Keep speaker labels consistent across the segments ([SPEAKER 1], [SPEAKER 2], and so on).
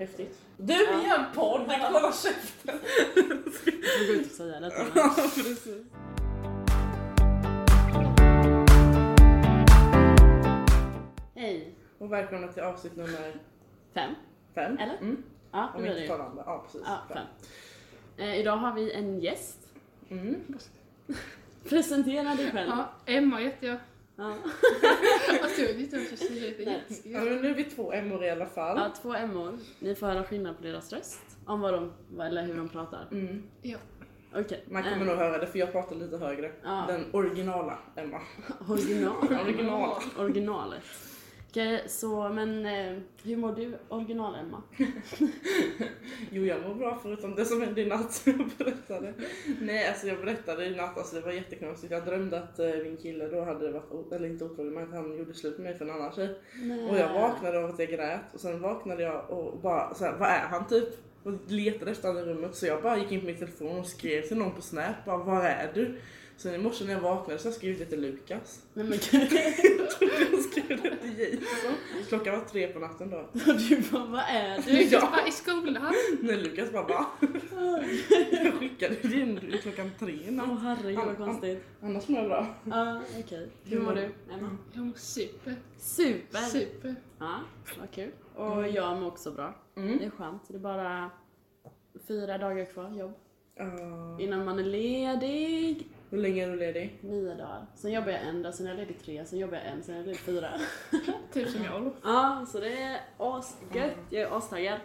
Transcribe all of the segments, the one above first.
[SPEAKER 1] Häftigt.
[SPEAKER 2] Du gör en podd, men kolla käften!
[SPEAKER 1] Jag går ut och säga det.
[SPEAKER 2] Precis.
[SPEAKER 1] Hej.
[SPEAKER 2] Och välkomna till avsnitt nummer
[SPEAKER 1] Fem.
[SPEAKER 2] fem.
[SPEAKER 1] Eller?
[SPEAKER 2] Mm.
[SPEAKER 1] Ja, det
[SPEAKER 2] Om
[SPEAKER 1] blir
[SPEAKER 2] inte
[SPEAKER 1] det ju.
[SPEAKER 2] tar andra. Ja, precis.
[SPEAKER 1] Ja, fem. Eh, idag har vi en gäst.
[SPEAKER 2] Mm.
[SPEAKER 1] Presentera dig själv.
[SPEAKER 3] Ja, Emma heter jag.
[SPEAKER 1] Ja.
[SPEAKER 3] Alltså jag vet inte om jag känner
[SPEAKER 1] Nej.
[SPEAKER 3] lite
[SPEAKER 2] Ja,
[SPEAKER 3] jätteskill.
[SPEAKER 2] men nu är vi två emmor i alla fall.
[SPEAKER 1] Ja, två emmor. Ni får höra skillnad på deras röst. Om vad de, vad- eller hur de pratar.
[SPEAKER 2] Mm.
[SPEAKER 1] Okej.
[SPEAKER 2] Man kommer
[SPEAKER 1] eh,
[SPEAKER 2] nog höra det för jag pratar lite högre.
[SPEAKER 1] Ja.
[SPEAKER 2] Den originala Emma.
[SPEAKER 1] Original.
[SPEAKER 2] Originala.
[SPEAKER 1] Originalet. Okej, så men eh, hur mår du original-Emma?
[SPEAKER 2] Jo jag mår bra förutom det som hände i natt som jag berättade. Nej alltså jag berättade i natt, alltså det var jättekonstigt. Jag drömte att eh, min kille då hade varit, o- eller inte otrogen men att han gjorde slut med mig för en annan tjej. Och
[SPEAKER 1] Eh.
[SPEAKER 2] jag vaknade av att jag grät och sen vaknade jag och bara såhär, vad är han typ? Och letade efter honom i rummet så jag bara gick in på min telefon och skrev till någon på snap bara, var är du? Sen i morse när jag vaknade så skrev jag ut det till Lukas.
[SPEAKER 1] Nej men gud.
[SPEAKER 2] Jag skrev det till Jason. Klockan var tre på natten då.
[SPEAKER 1] Och du bara, vad är
[SPEAKER 3] Du
[SPEAKER 1] du?
[SPEAKER 3] är
[SPEAKER 2] Ja.
[SPEAKER 3] ja. i skolan.
[SPEAKER 2] När Lukas bara va? Jag skickade din klockan tre i
[SPEAKER 1] Åh
[SPEAKER 2] natt.
[SPEAKER 1] herregud vad konstigt.
[SPEAKER 2] Annars mår jag bra.
[SPEAKER 1] Ja, okej. Hur mår du Emma?
[SPEAKER 3] Jag mår super.
[SPEAKER 1] Super!
[SPEAKER 3] Super.
[SPEAKER 1] Ja, vad kul. Mm. Och jag mår också bra. Det
[SPEAKER 2] Mm.
[SPEAKER 1] är skönt. Det är bara fyra dagar kvar jobb.
[SPEAKER 2] Ja.
[SPEAKER 1] Innan man är ledig.
[SPEAKER 2] Ah. hur länge är du ledig?
[SPEAKER 1] Nio dagar. Sen jobbar jag en dag, sen är jag ledig tre, sen jobbar jag en, sen är jag ledig fyra.
[SPEAKER 3] Typ som jag då.
[SPEAKER 1] Ja, så det är asgött. Jag är astaggad.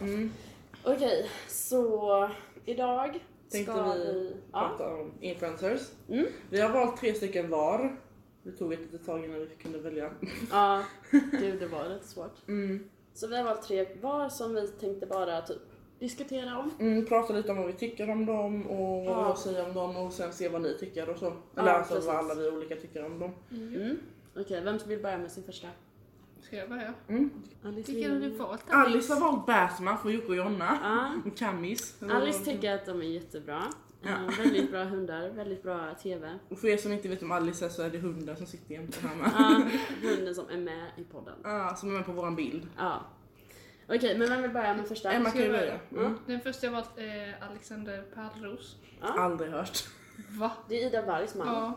[SPEAKER 2] Mm.
[SPEAKER 1] Okej, så idag
[SPEAKER 2] Tänkte
[SPEAKER 1] ska
[SPEAKER 2] vi
[SPEAKER 1] Ja,
[SPEAKER 2] Prata om influencers.
[SPEAKER 1] Mm.
[SPEAKER 2] Vi har valt tre stycken var. Det tog ett litet tag innan vi kunde välja.
[SPEAKER 1] ja. Gud, det var lite svårt. Så vi har valt tre var som vi tänkte bara typ diskutera om.
[SPEAKER 2] Mm, prata lite om vad vi tycker om dem och vad vi
[SPEAKER 1] Ja.
[SPEAKER 2] har att säga om dem och sen se vad ni tycker och så.
[SPEAKER 1] Ja,
[SPEAKER 2] Eller alltså
[SPEAKER 1] precis.
[SPEAKER 2] vad alla vi olika tycker om dem.
[SPEAKER 1] Mm. Okej, vem vill börja med sin första?
[SPEAKER 3] Ska jag börja?
[SPEAKER 2] Mm.
[SPEAKER 1] Alice
[SPEAKER 3] Vilken har du valt?
[SPEAKER 2] Alice har valt Batman för Jocke och Jonna.
[SPEAKER 1] Ja.
[SPEAKER 2] Och Cammis.
[SPEAKER 1] Alice tycker att de är jättebra.
[SPEAKER 2] Ja.
[SPEAKER 1] Eh, väldigt bra hundar, väldigt bra TV.
[SPEAKER 2] Och för er som inte vet om Alice är så är det hunden som sitter jämte här med.
[SPEAKER 1] Ja, hunden som är med i podden.
[SPEAKER 2] Ah, som är med på våran bild.
[SPEAKER 1] Ja. Okej, men vem vill börja med första?
[SPEAKER 2] Emma
[SPEAKER 3] ska
[SPEAKER 2] kan ju
[SPEAKER 3] jag
[SPEAKER 2] börja.
[SPEAKER 1] börja?
[SPEAKER 2] Mm.
[SPEAKER 3] Den första jag valt är Alexander Pärleros.
[SPEAKER 1] Ja.
[SPEAKER 2] Aldrig hört.
[SPEAKER 3] Va?
[SPEAKER 1] Det är Ida Vargs man.
[SPEAKER 3] Ja,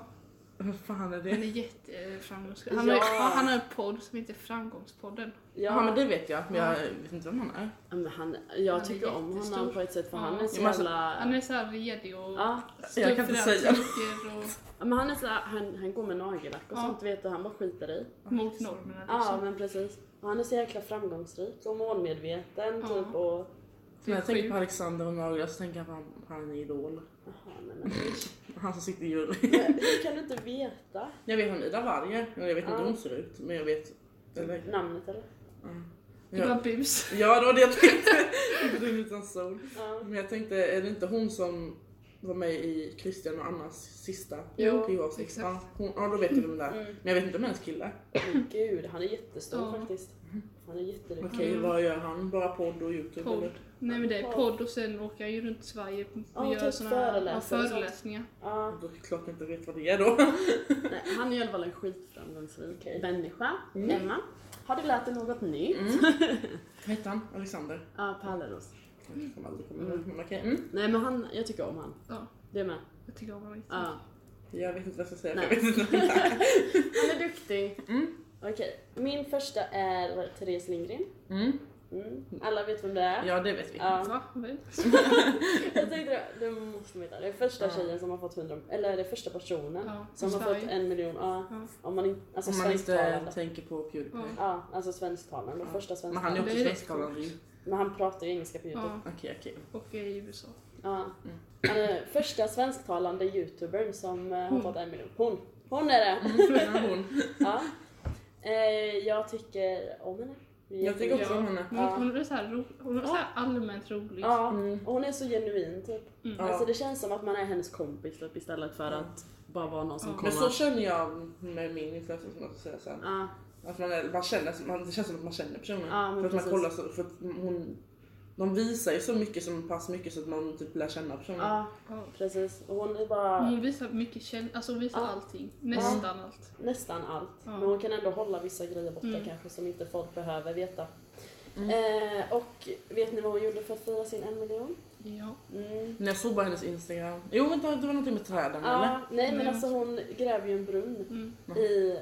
[SPEAKER 2] Vad fan är
[SPEAKER 3] han är
[SPEAKER 2] det?
[SPEAKER 3] jätteframgångsrik. Han, har-
[SPEAKER 1] Ja.
[SPEAKER 3] han har en podd som heter Framgångspodden.
[SPEAKER 1] Ja,
[SPEAKER 2] Ja men det vet jag men jag vet inte vem han är.
[SPEAKER 1] Ja, men han,
[SPEAKER 3] Han
[SPEAKER 1] jag
[SPEAKER 3] är
[SPEAKER 1] tycker om honom
[SPEAKER 3] jättestor.
[SPEAKER 1] på ett sätt för
[SPEAKER 3] Ja.
[SPEAKER 1] han är så
[SPEAKER 2] Ja, men alltså,
[SPEAKER 1] jävla...
[SPEAKER 3] Han är så här redig och
[SPEAKER 1] Ja,
[SPEAKER 3] står
[SPEAKER 2] jag kan
[SPEAKER 3] för
[SPEAKER 2] inte
[SPEAKER 3] det han
[SPEAKER 2] säga.
[SPEAKER 3] tycker och
[SPEAKER 1] men han är så här, han, han går med nagellack och
[SPEAKER 3] Ja.
[SPEAKER 1] sånt vet du, han bara skiter i.
[SPEAKER 3] mot normerna liksom.
[SPEAKER 1] Ja men precis. Och han är så jäkla framgångsrik och målmedveten
[SPEAKER 3] Ja.
[SPEAKER 1] typ och...
[SPEAKER 3] Det
[SPEAKER 2] När
[SPEAKER 3] är
[SPEAKER 2] jag tänker på
[SPEAKER 3] sjukt.
[SPEAKER 2] Alexander och Nagla så tänker jag på han, han är idol.
[SPEAKER 1] Jaha, nej, men,
[SPEAKER 2] Han som sitter i jury.
[SPEAKER 1] men, hur kan du inte veta
[SPEAKER 2] Jag vet hon Ida Varje, jag vet inte
[SPEAKER 1] Ja. Typ.
[SPEAKER 2] hur hon ser ut men jag vet. Eller,
[SPEAKER 1] namnet eller?
[SPEAKER 2] mm.
[SPEAKER 3] Det var
[SPEAKER 2] ja.
[SPEAKER 3] bus.
[SPEAKER 2] ja det var det jag tänkte. Inte Dygn utan sol.
[SPEAKER 1] Ja.
[SPEAKER 2] Men jag tänkte, är det inte hon som var med i Christian och Annas sista
[SPEAKER 1] Jo,
[SPEAKER 2] PH-avsnitt?
[SPEAKER 3] exakt.
[SPEAKER 2] Ja, hon- ja då vet jag vem det är.
[SPEAKER 1] Mm.
[SPEAKER 2] Men jag vet inte om hennes kille.
[SPEAKER 1] Men gud, han är jättestor
[SPEAKER 3] Ja.
[SPEAKER 1] faktiskt. Han är jätteduktig.
[SPEAKER 2] Okej vad gör han? Bara podd och youtube?
[SPEAKER 3] Mm. Podd.
[SPEAKER 2] eller?
[SPEAKER 3] Nej men det är podd och sen åker jag ju runt i Sverige och
[SPEAKER 1] Ja,
[SPEAKER 3] gör
[SPEAKER 1] typ
[SPEAKER 3] såna
[SPEAKER 1] föreläsningar
[SPEAKER 3] ja,
[SPEAKER 1] och sånt.
[SPEAKER 3] föreläsningar.
[SPEAKER 1] Ja.
[SPEAKER 2] Då är det klart jag inte vet vad det är då.
[SPEAKER 1] Nej, han är i alla fall en skitframgångsrik
[SPEAKER 2] Okej.
[SPEAKER 1] människa.
[SPEAKER 2] Mm.
[SPEAKER 1] Emma, har du lärt dig något nytt?
[SPEAKER 2] Vad heter han? Alexander?
[SPEAKER 1] Ja, Pärleros.
[SPEAKER 2] Jag kommer aldrig komma ihåg. Men okej. Mm.
[SPEAKER 1] Nej men han, jag tycker om han.
[SPEAKER 3] Ja,
[SPEAKER 1] Du med?
[SPEAKER 3] jag tycker om honom jättemycket.
[SPEAKER 1] Ja.
[SPEAKER 2] Jag vet inte vad jag ska säga. för
[SPEAKER 1] Nej.
[SPEAKER 2] Jag vet inte vem det är.
[SPEAKER 1] Han är duktig.
[SPEAKER 2] Mm.
[SPEAKER 1] Okej, min första är Therese Lindgren.
[SPEAKER 2] Mm.
[SPEAKER 1] Mm. Alla vet vem det är.
[SPEAKER 2] Ja det vet vi.
[SPEAKER 1] Ja.
[SPEAKER 3] Va? Vem?
[SPEAKER 1] Jag tänkte det, det måste man veta. Det är första
[SPEAKER 2] Ja.
[SPEAKER 1] tjejen som har fått 100, eller det är första personen
[SPEAKER 3] Ja,
[SPEAKER 1] som har
[SPEAKER 3] från Sverige.
[SPEAKER 1] fått en miljon, ja.
[SPEAKER 3] Ja.
[SPEAKER 1] Om man inte, alltså
[SPEAKER 2] Om man
[SPEAKER 1] svensktalande.
[SPEAKER 2] inte tänker på Pewdiepie.
[SPEAKER 3] Ja.
[SPEAKER 1] Ja, alltså svensktalande, den
[SPEAKER 2] Ja.
[SPEAKER 1] första
[SPEAKER 2] Men han är
[SPEAKER 1] svensktalande.
[SPEAKER 2] också
[SPEAKER 3] Det är rätt
[SPEAKER 2] svensktalande ju.
[SPEAKER 1] Men han pratar ju engelska på youtube.
[SPEAKER 3] Ja,
[SPEAKER 2] Okej okej.
[SPEAKER 3] och i USA.
[SPEAKER 1] Ja.
[SPEAKER 2] Mm.
[SPEAKER 1] Han är första svensktalande youtubern som eh, har
[SPEAKER 3] Hon.
[SPEAKER 1] fått en miljon. Hon! Hon är det!
[SPEAKER 2] Mm, hon.
[SPEAKER 1] Ja. Eh, jag tycker om henne. Vi är
[SPEAKER 2] Jag tycker också
[SPEAKER 3] Ja.
[SPEAKER 2] om henne.
[SPEAKER 3] Hon,
[SPEAKER 1] Ja.
[SPEAKER 3] hon är så här, ro, hon är så här allmänt rolig.
[SPEAKER 1] Ja,
[SPEAKER 2] Mm.
[SPEAKER 1] och hon är så genuin typ.
[SPEAKER 3] Mm.
[SPEAKER 2] Ja.
[SPEAKER 1] Alltså det känns som att man är hennes kompis typ, istället för
[SPEAKER 2] Ja.
[SPEAKER 1] att bara vara någon som
[SPEAKER 3] Ja.
[SPEAKER 1] kommer.
[SPEAKER 2] Men så känner jag med min influencer som jag ska säga sen.
[SPEAKER 1] Ja,
[SPEAKER 2] Att man, är, man känner, man, det känns som att man känner personen.
[SPEAKER 1] Ja, men
[SPEAKER 2] för att man
[SPEAKER 1] precis.
[SPEAKER 2] kollar så, för att hon, de visar ju så mycket, som pass mycket så att man typ lär känna personen.
[SPEAKER 1] ja,
[SPEAKER 3] Ja.
[SPEAKER 1] precis. Och hon är bara
[SPEAKER 2] Mm.
[SPEAKER 3] Hon visar mycket känsla, alltså hon visar
[SPEAKER 1] Ja.
[SPEAKER 3] allting. Nästan allt.
[SPEAKER 1] nästan allt.
[SPEAKER 3] Ja.
[SPEAKER 1] Men hon kan ändå hålla vissa grejer borta
[SPEAKER 3] Mm.
[SPEAKER 1] kanske som inte folk behöver veta. Eh, och vet ni vad hon gjorde för att fira sin en miljon?
[SPEAKER 3] Ja.
[SPEAKER 1] Mm.
[SPEAKER 2] Men jag såg bara hennes instagram. Jo vänta, det var någonting med träden eller?
[SPEAKER 1] Ja, nej men
[SPEAKER 3] Mm.
[SPEAKER 1] alltså hon gräver ju en brunn
[SPEAKER 3] Mm.
[SPEAKER 1] i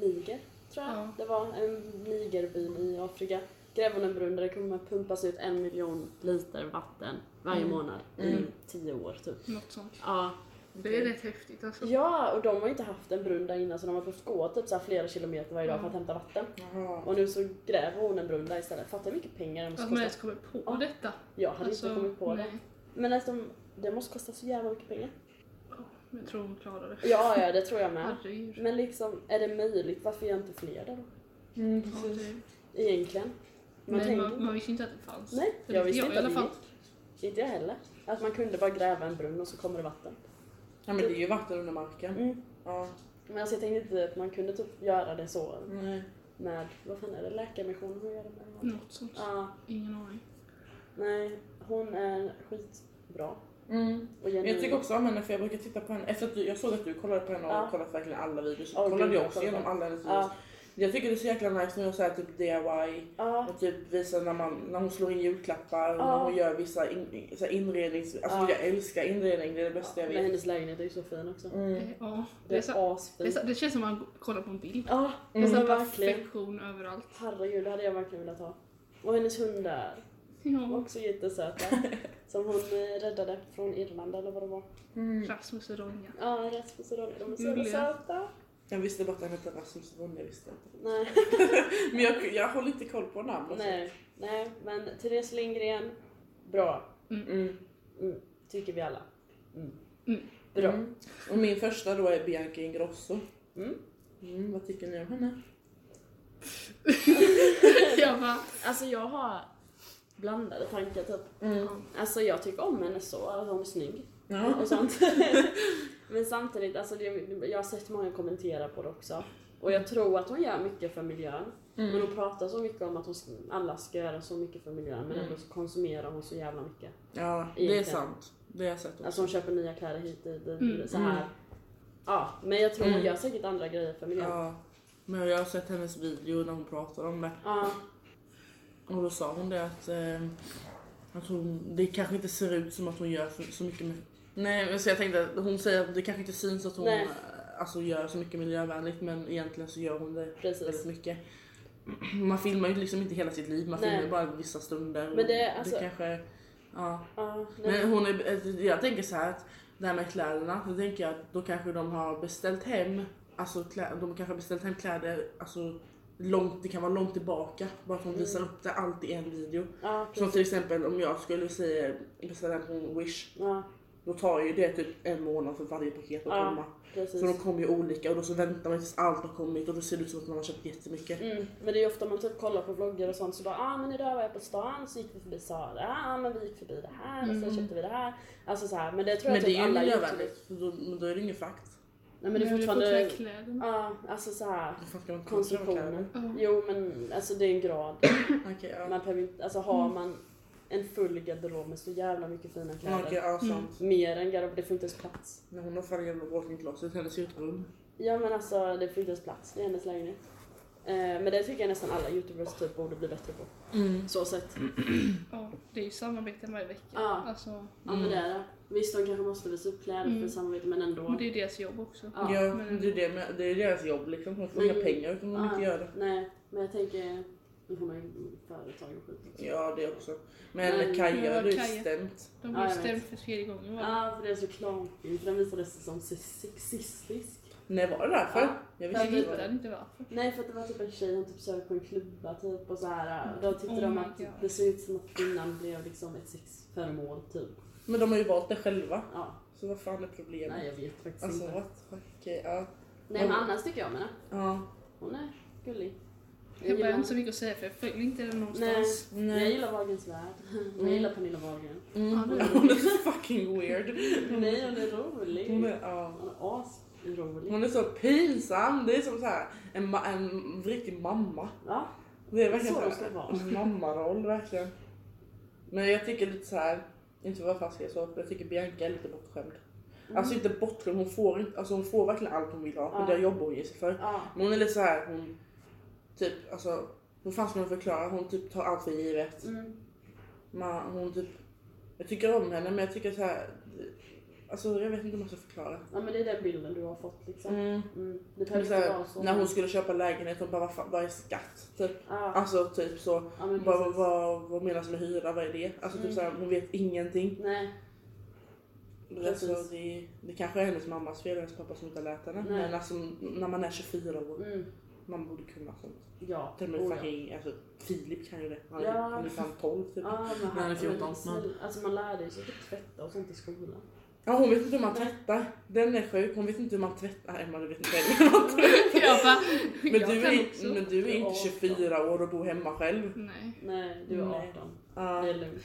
[SPEAKER 1] Niger, tror jag.
[SPEAKER 3] Ja.
[SPEAKER 1] Det var en Nigerbyn i Afrika. Gräver hon en brunn där det kommer att pumpas ut en miljon liter vatten varje
[SPEAKER 2] Mm.
[SPEAKER 1] månad i
[SPEAKER 2] Mm.
[SPEAKER 1] tio år typ.
[SPEAKER 3] Något sånt.
[SPEAKER 1] Ja,
[SPEAKER 3] Det är rätt häftigt alltså.
[SPEAKER 1] Ja, och de har ju inte haft en brunn där innan så de har behövt gå typ så här flera kilometer varje dag för att hämta vatten.
[SPEAKER 2] Jaha.
[SPEAKER 1] Och nu så gräver hon en brunn där istället. Fattar hur mycket pengar det måste
[SPEAKER 3] Att man
[SPEAKER 1] kosta.
[SPEAKER 3] ens kommer på
[SPEAKER 1] Ja.
[SPEAKER 3] detta.
[SPEAKER 1] Jag hade
[SPEAKER 3] Alltså,
[SPEAKER 1] inte kommit på det.
[SPEAKER 3] nej.
[SPEAKER 1] Men alltså, det måste kosta så jävla mycket pengar.
[SPEAKER 3] Men Jag tror hon klarar det.
[SPEAKER 1] Ja, ja, det tror jag med.
[SPEAKER 3] Herregud.
[SPEAKER 1] Men liksom, är det möjligt? Varför gör inte fler det då?
[SPEAKER 2] Mm,
[SPEAKER 3] Ja, det-
[SPEAKER 1] Egentligen. Man
[SPEAKER 3] Men
[SPEAKER 1] tänker
[SPEAKER 3] man, man visste inte att det fanns.
[SPEAKER 1] Nej,
[SPEAKER 3] Det
[SPEAKER 1] jag
[SPEAKER 3] vet
[SPEAKER 1] visste inte
[SPEAKER 3] i
[SPEAKER 1] att
[SPEAKER 3] alla
[SPEAKER 1] det
[SPEAKER 3] fall.
[SPEAKER 1] gick. Inte jag heller. Att man kunde bara gräva en brunn och så kommer det vatten.
[SPEAKER 2] Ja men det är ju vatten under marken.
[SPEAKER 1] Mm.
[SPEAKER 2] Ja.
[SPEAKER 1] Men alltså, jag tänkte inte att man kunde typ göra det så
[SPEAKER 2] Nej.
[SPEAKER 1] med, vad fan är det, Läkarmissionen? Hur gör de det?
[SPEAKER 3] Något sånt.
[SPEAKER 1] Ja,
[SPEAKER 3] Ingen aning.
[SPEAKER 1] Nej, hon är skitbra.
[SPEAKER 2] Mm.
[SPEAKER 1] Och genuin.
[SPEAKER 2] Jag tycker också om henne för jag brukar titta på henne, efter att du, jag såg att du kollade på henne och
[SPEAKER 1] Ja.
[SPEAKER 2] kollat verkligen alla videos,
[SPEAKER 1] Ja,
[SPEAKER 2] så kollade
[SPEAKER 1] gud,
[SPEAKER 2] jag
[SPEAKER 1] jag
[SPEAKER 2] också
[SPEAKER 1] kollar.
[SPEAKER 2] igenom alla hennes videos.
[SPEAKER 1] Ja,
[SPEAKER 2] Jag tycker det är så jäkla nice när hon säger typ DIY
[SPEAKER 1] ja,
[SPEAKER 2] och typ visar när, man, när hon slår in julklappar och
[SPEAKER 1] Ja.
[SPEAKER 2] när hon gör vissa in, in- så här inrednings... Alltså
[SPEAKER 1] Ja.
[SPEAKER 2] jag älskar inredning, det är det
[SPEAKER 1] ja.
[SPEAKER 2] bästa jag
[SPEAKER 1] Men
[SPEAKER 2] vet.
[SPEAKER 1] hennes lägenhet är ju så fin också.
[SPEAKER 2] Mm.
[SPEAKER 3] Eh, Ja,
[SPEAKER 1] Det
[SPEAKER 3] det, är
[SPEAKER 1] är
[SPEAKER 3] så, det, är
[SPEAKER 1] asfint.
[SPEAKER 3] så, det känns som att man kollar på en bild.
[SPEAKER 1] Ja, det är
[SPEAKER 3] Det är
[SPEAKER 1] så
[SPEAKER 3] så
[SPEAKER 1] verkligen.
[SPEAKER 3] perfektion överallt.
[SPEAKER 1] Herregud, det hade jag verkligen velat ha. Och hennes hundar var
[SPEAKER 3] Ja,
[SPEAKER 1] också jättesöta. som hon eh, räddade från Irland eller vad det var.
[SPEAKER 2] Mm.
[SPEAKER 3] Rasmus och Ronja.
[SPEAKER 1] Ja, rätt på Sydonja. De är så jävla
[SPEAKER 3] Gulliga.
[SPEAKER 1] söta.
[SPEAKER 2] Jag visste bara att han hette Rasmus Bonde, jag visste inte.
[SPEAKER 1] Nej,
[SPEAKER 2] Men jag, jag håller inte koll på namn. Alltså.
[SPEAKER 1] nej, nej. Men Therese Lindgren, bra.
[SPEAKER 2] Mm.
[SPEAKER 1] Tycker vi alla.
[SPEAKER 3] Mm.
[SPEAKER 1] Bra.
[SPEAKER 2] Mm. Och min första då är Bianca Ingrosso.
[SPEAKER 1] Mm.
[SPEAKER 2] Mm, vad tycker ni om henne?
[SPEAKER 3] Jag bara,
[SPEAKER 1] Alltså jag har blandade tankar typ.
[SPEAKER 2] Mm.
[SPEAKER 1] Alltså jag tycker om henne så, alltså hon är snygg.
[SPEAKER 2] Ja.
[SPEAKER 1] och sånt. Men samtidigt, alltså det, jag har sett många kommentera på det också. Och jag tror att hon gör mycket för miljön. Men
[SPEAKER 2] Mm.
[SPEAKER 1] hon pratar så mycket om att hon, alla ska göra så mycket för miljön men
[SPEAKER 2] Mm.
[SPEAKER 1] ändå så konsumerar hon så jävla mycket.
[SPEAKER 2] ja, det är
[SPEAKER 1] Egentligen.
[SPEAKER 2] sant. Det har jag sett också.
[SPEAKER 1] Alltså hon köper nya kläder hit och
[SPEAKER 3] Mm.
[SPEAKER 1] dit, så här. Ja, men jag tror hon
[SPEAKER 2] Mm.
[SPEAKER 1] gör säkert andra grejer för miljön.
[SPEAKER 2] Ja. Men jag har sett hennes video när hon pratar om det.
[SPEAKER 1] Ja,
[SPEAKER 2] Och då sa hon det att, eh, att hon, det kanske inte ser ut som att hon gör så, så mycket med, Nej men så jag tänkte att hon säger att det kanske inte syns att hon
[SPEAKER 1] Nej.
[SPEAKER 2] eh, alltså, gör så mycket miljövänligt men egentligen så gör hon det väldigt
[SPEAKER 1] precis.
[SPEAKER 2] mycket. Man filmar ju liksom inte hela sitt liv, man
[SPEAKER 1] Nej.
[SPEAKER 2] filmar ju bara vissa stunder. och
[SPEAKER 1] Men det är alltså-
[SPEAKER 2] kanske, ja.
[SPEAKER 1] Ja, nej.
[SPEAKER 2] Men hon är, alltså, jag tänker så här att det här med kläderna, då tänker jag att då kanske de har beställt hem, alltså klä, de kanske har beställt hem kläder, alltså långt, det kan vara långt tillbaka, bara att hon visar upp det allt i en video.
[SPEAKER 1] Ja,
[SPEAKER 2] Som
[SPEAKER 1] Mm. precis.
[SPEAKER 2] till exempel om jag skulle säga beställa hem från Wish,
[SPEAKER 1] Ja,
[SPEAKER 2] då tar ju det typ en månad för varje paket att
[SPEAKER 1] Ja,
[SPEAKER 2] komma.
[SPEAKER 1] precis.
[SPEAKER 2] För de kommer ju olika och då så väntar man tills allt har kommit och då ser det ut som att man har köpt jättemycket.
[SPEAKER 1] Mm, men det är ju ofta man typ kollar på vloggar och sånt så bara ah men idag var jag på stan så gick vi förbi Sara, ah men vi gick förbi det här och sen
[SPEAKER 3] Mm.
[SPEAKER 1] köpte vi det här. Alltså så här, men det tror jag
[SPEAKER 2] Men det
[SPEAKER 1] typ
[SPEAKER 2] är ju
[SPEAKER 1] alla gör.
[SPEAKER 2] miljövänligt, för då, men då är det ingen frakt.
[SPEAKER 1] Nej men det är fortfarande,
[SPEAKER 3] fortfarande kläderna.
[SPEAKER 1] ja alltså så här
[SPEAKER 2] Då ska man inte konservera kläder.
[SPEAKER 1] konstruktionen. Jo men alltså det är en grad.
[SPEAKER 2] Okej, ja. Mm.
[SPEAKER 1] Man behöver inte, alltså har man en full garderob med så jävla mycket fina
[SPEAKER 2] Ja,
[SPEAKER 1] kläder.
[SPEAKER 2] Okej, ja sant.
[SPEAKER 3] Mm.
[SPEAKER 1] Mer än garderob, det får inte ens plats.
[SPEAKER 2] När hon har fallit genom walking closet, hennes utrum.
[SPEAKER 1] Ja men alltså det får inte ens plats i hennes lägenhet. Eh, men det tycker jag nästan alla youtubers typ borde bli bättre på.
[SPEAKER 2] Mm.
[SPEAKER 1] Så sett.
[SPEAKER 3] Ja, det är ju samarbeten varje vecka.
[SPEAKER 1] Ja.
[SPEAKER 3] Alltså,
[SPEAKER 1] Ja men det är det. Visst de kanske måste visa upp kläder för
[SPEAKER 3] Mm.
[SPEAKER 1] samarbete men ändå.
[SPEAKER 3] och det är ju deras jobb också.
[SPEAKER 1] Ja,
[SPEAKER 2] Ja,
[SPEAKER 3] men-
[SPEAKER 2] det, är det, med, det är deras jobb liksom. De får inga
[SPEAKER 1] Men-
[SPEAKER 2] pengar utan de
[SPEAKER 1] ja,
[SPEAKER 2] inte gör det.
[SPEAKER 1] Nej men jag tänker, nu får man ju företag och skit också.
[SPEAKER 2] Ja, det också. Men
[SPEAKER 1] Men-
[SPEAKER 2] Kaja,
[SPEAKER 3] Ja,
[SPEAKER 2] det är
[SPEAKER 3] Kaja.
[SPEAKER 2] stämt.
[SPEAKER 1] Ja,
[SPEAKER 3] De
[SPEAKER 1] jag
[SPEAKER 3] blir ju
[SPEAKER 1] vet.
[SPEAKER 3] stämda för tredje gången va?
[SPEAKER 1] Ja för det är så klantigt för den visades som sexistisk.
[SPEAKER 2] Nej, var det därför?
[SPEAKER 1] Ja.
[SPEAKER 2] Jag
[SPEAKER 3] Jag
[SPEAKER 2] visste
[SPEAKER 1] men-
[SPEAKER 2] inte. vad
[SPEAKER 3] hittade
[SPEAKER 2] det
[SPEAKER 3] inte varför.
[SPEAKER 1] Nej för att det var typ en tjej som typ sög på en klubba typ och så här. Då tyckte
[SPEAKER 3] Oh
[SPEAKER 1] de
[SPEAKER 3] my
[SPEAKER 1] att
[SPEAKER 3] God.
[SPEAKER 1] det såg ut som att kvinnan blev liksom ett sexföremål typ.
[SPEAKER 2] var. Men de har ju valt det själva.
[SPEAKER 1] Ja,
[SPEAKER 2] Så vad fan är problemet?
[SPEAKER 1] nej jag vet faktiskt
[SPEAKER 2] alltså
[SPEAKER 1] inte.
[SPEAKER 2] what? Okej, ja.
[SPEAKER 1] Nej men annars tycker jag om henne.
[SPEAKER 2] ja.
[SPEAKER 1] Hon är gullig.
[SPEAKER 3] Jag bara, jag har inte så
[SPEAKER 1] gillar,
[SPEAKER 3] mycket att säga för jag följer inte den någonstans.
[SPEAKER 1] jag
[SPEAKER 2] Nej.
[SPEAKER 1] gillar Wahlgrens värld. Jag
[SPEAKER 2] Mm.
[SPEAKER 1] gillar Pernilla Wahlgren.
[SPEAKER 2] Mm.
[SPEAKER 3] Ja, det-
[SPEAKER 2] Hon är så fucking weird.
[SPEAKER 1] Nej hon är rolig.
[SPEAKER 2] Hon är, ja.
[SPEAKER 1] Han är asrolig.
[SPEAKER 2] Hon är så pinsam. Det är som så här, en, ma- en riktig mamma.
[SPEAKER 1] Ja,
[SPEAKER 2] Det är verkligen
[SPEAKER 1] Så
[SPEAKER 2] så
[SPEAKER 1] de ska vara.
[SPEAKER 2] en mammaroll verkligen. Men jag tycker lite så här, inte för att vara fast i så, jag tycker Bianca är lite bortskämd. Alltså inte bortskämd, hon får, inte, alltså hon får verkligen allt hon vill ha.
[SPEAKER 1] Mm. Ja.
[SPEAKER 2] Men det jobbar hon ju sig för.
[SPEAKER 1] ja.
[SPEAKER 2] Men hon är lite så här, hon typ alltså Hon fanns med att förklara, hon typ tar allt för givet.
[SPEAKER 1] Mm.
[SPEAKER 2] Man, hon typ, jag tycker om henne men jag tycker så här. Alltså jag vet inte om man ska förklara.
[SPEAKER 1] Ja men det är den bilden du har fått liksom.
[SPEAKER 2] Mm.
[SPEAKER 1] Mm. Det
[SPEAKER 2] Men
[SPEAKER 1] behöver
[SPEAKER 2] så
[SPEAKER 1] inte
[SPEAKER 2] här,
[SPEAKER 1] vara så.
[SPEAKER 2] när hon skulle köpa lägenhet, hon bara vad fan, vad är skatt? Typ.
[SPEAKER 1] Ja,
[SPEAKER 2] Alltså typ så.
[SPEAKER 1] ja men
[SPEAKER 2] Bara,
[SPEAKER 1] precis.
[SPEAKER 2] vad, vad, vad menas med hyra? Vad är det? Alltså typ
[SPEAKER 1] Mm.
[SPEAKER 2] såhär, hon vet ingenting.
[SPEAKER 1] Nej,
[SPEAKER 2] Alltså,
[SPEAKER 1] Precis.
[SPEAKER 2] det, det kanske är hennes mammas fel, hennes pappa som inte har lärt henne.
[SPEAKER 1] Nej.
[SPEAKER 2] Men alltså när man är 24 år,
[SPEAKER 1] mm.
[SPEAKER 2] man borde kunna sånt.
[SPEAKER 1] Ja.
[SPEAKER 2] Till och med
[SPEAKER 1] Oh, ja.
[SPEAKER 2] fucking, alltså Filip kan ju det. Han är,
[SPEAKER 1] Ja.
[SPEAKER 2] han är fan 12 typ.
[SPEAKER 1] Ja, men
[SPEAKER 2] När han är 14,
[SPEAKER 1] men snälla, Alltså man lärde sig typ tvätta och sånt i skolan.
[SPEAKER 2] Ja, hon vet inte hur man tvättar. Den är sjuk. Hon vet inte hur man tvättar. Nej, Emma du vet inte heller.
[SPEAKER 3] Jag bara,
[SPEAKER 2] Men,
[SPEAKER 3] jag
[SPEAKER 2] du
[SPEAKER 3] kan
[SPEAKER 2] är,
[SPEAKER 3] också.
[SPEAKER 2] men du är
[SPEAKER 1] Ja.
[SPEAKER 2] inte 24 år och bor hemma själv.
[SPEAKER 3] Nej.
[SPEAKER 1] Nej, du är
[SPEAKER 2] Nej.
[SPEAKER 1] 18.
[SPEAKER 2] Ja,
[SPEAKER 1] Det är lugnt.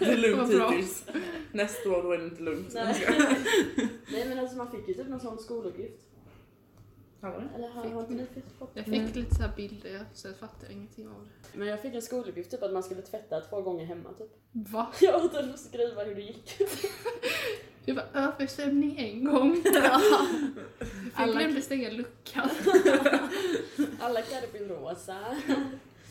[SPEAKER 2] det är lugnt
[SPEAKER 3] Vad bra.
[SPEAKER 2] hittills. Nästa år då är det inte lugnt.
[SPEAKER 1] Nej. Nej men alltså man fick ju typ någon sån skoluppgift. Eller har, har inte ni fått
[SPEAKER 3] Jag fick lite så här bilder så jag fattar ingenting av det.
[SPEAKER 1] Men jag fick en skoluppgift typ att man skulle tvätta två gånger hemma typ.
[SPEAKER 3] Va?
[SPEAKER 1] Jag åt att skriva hur det gick.
[SPEAKER 3] Det var översvämning en gång. Jag
[SPEAKER 1] Alla-
[SPEAKER 3] glömde stänga luckan.
[SPEAKER 1] Alla kläder blir rosa.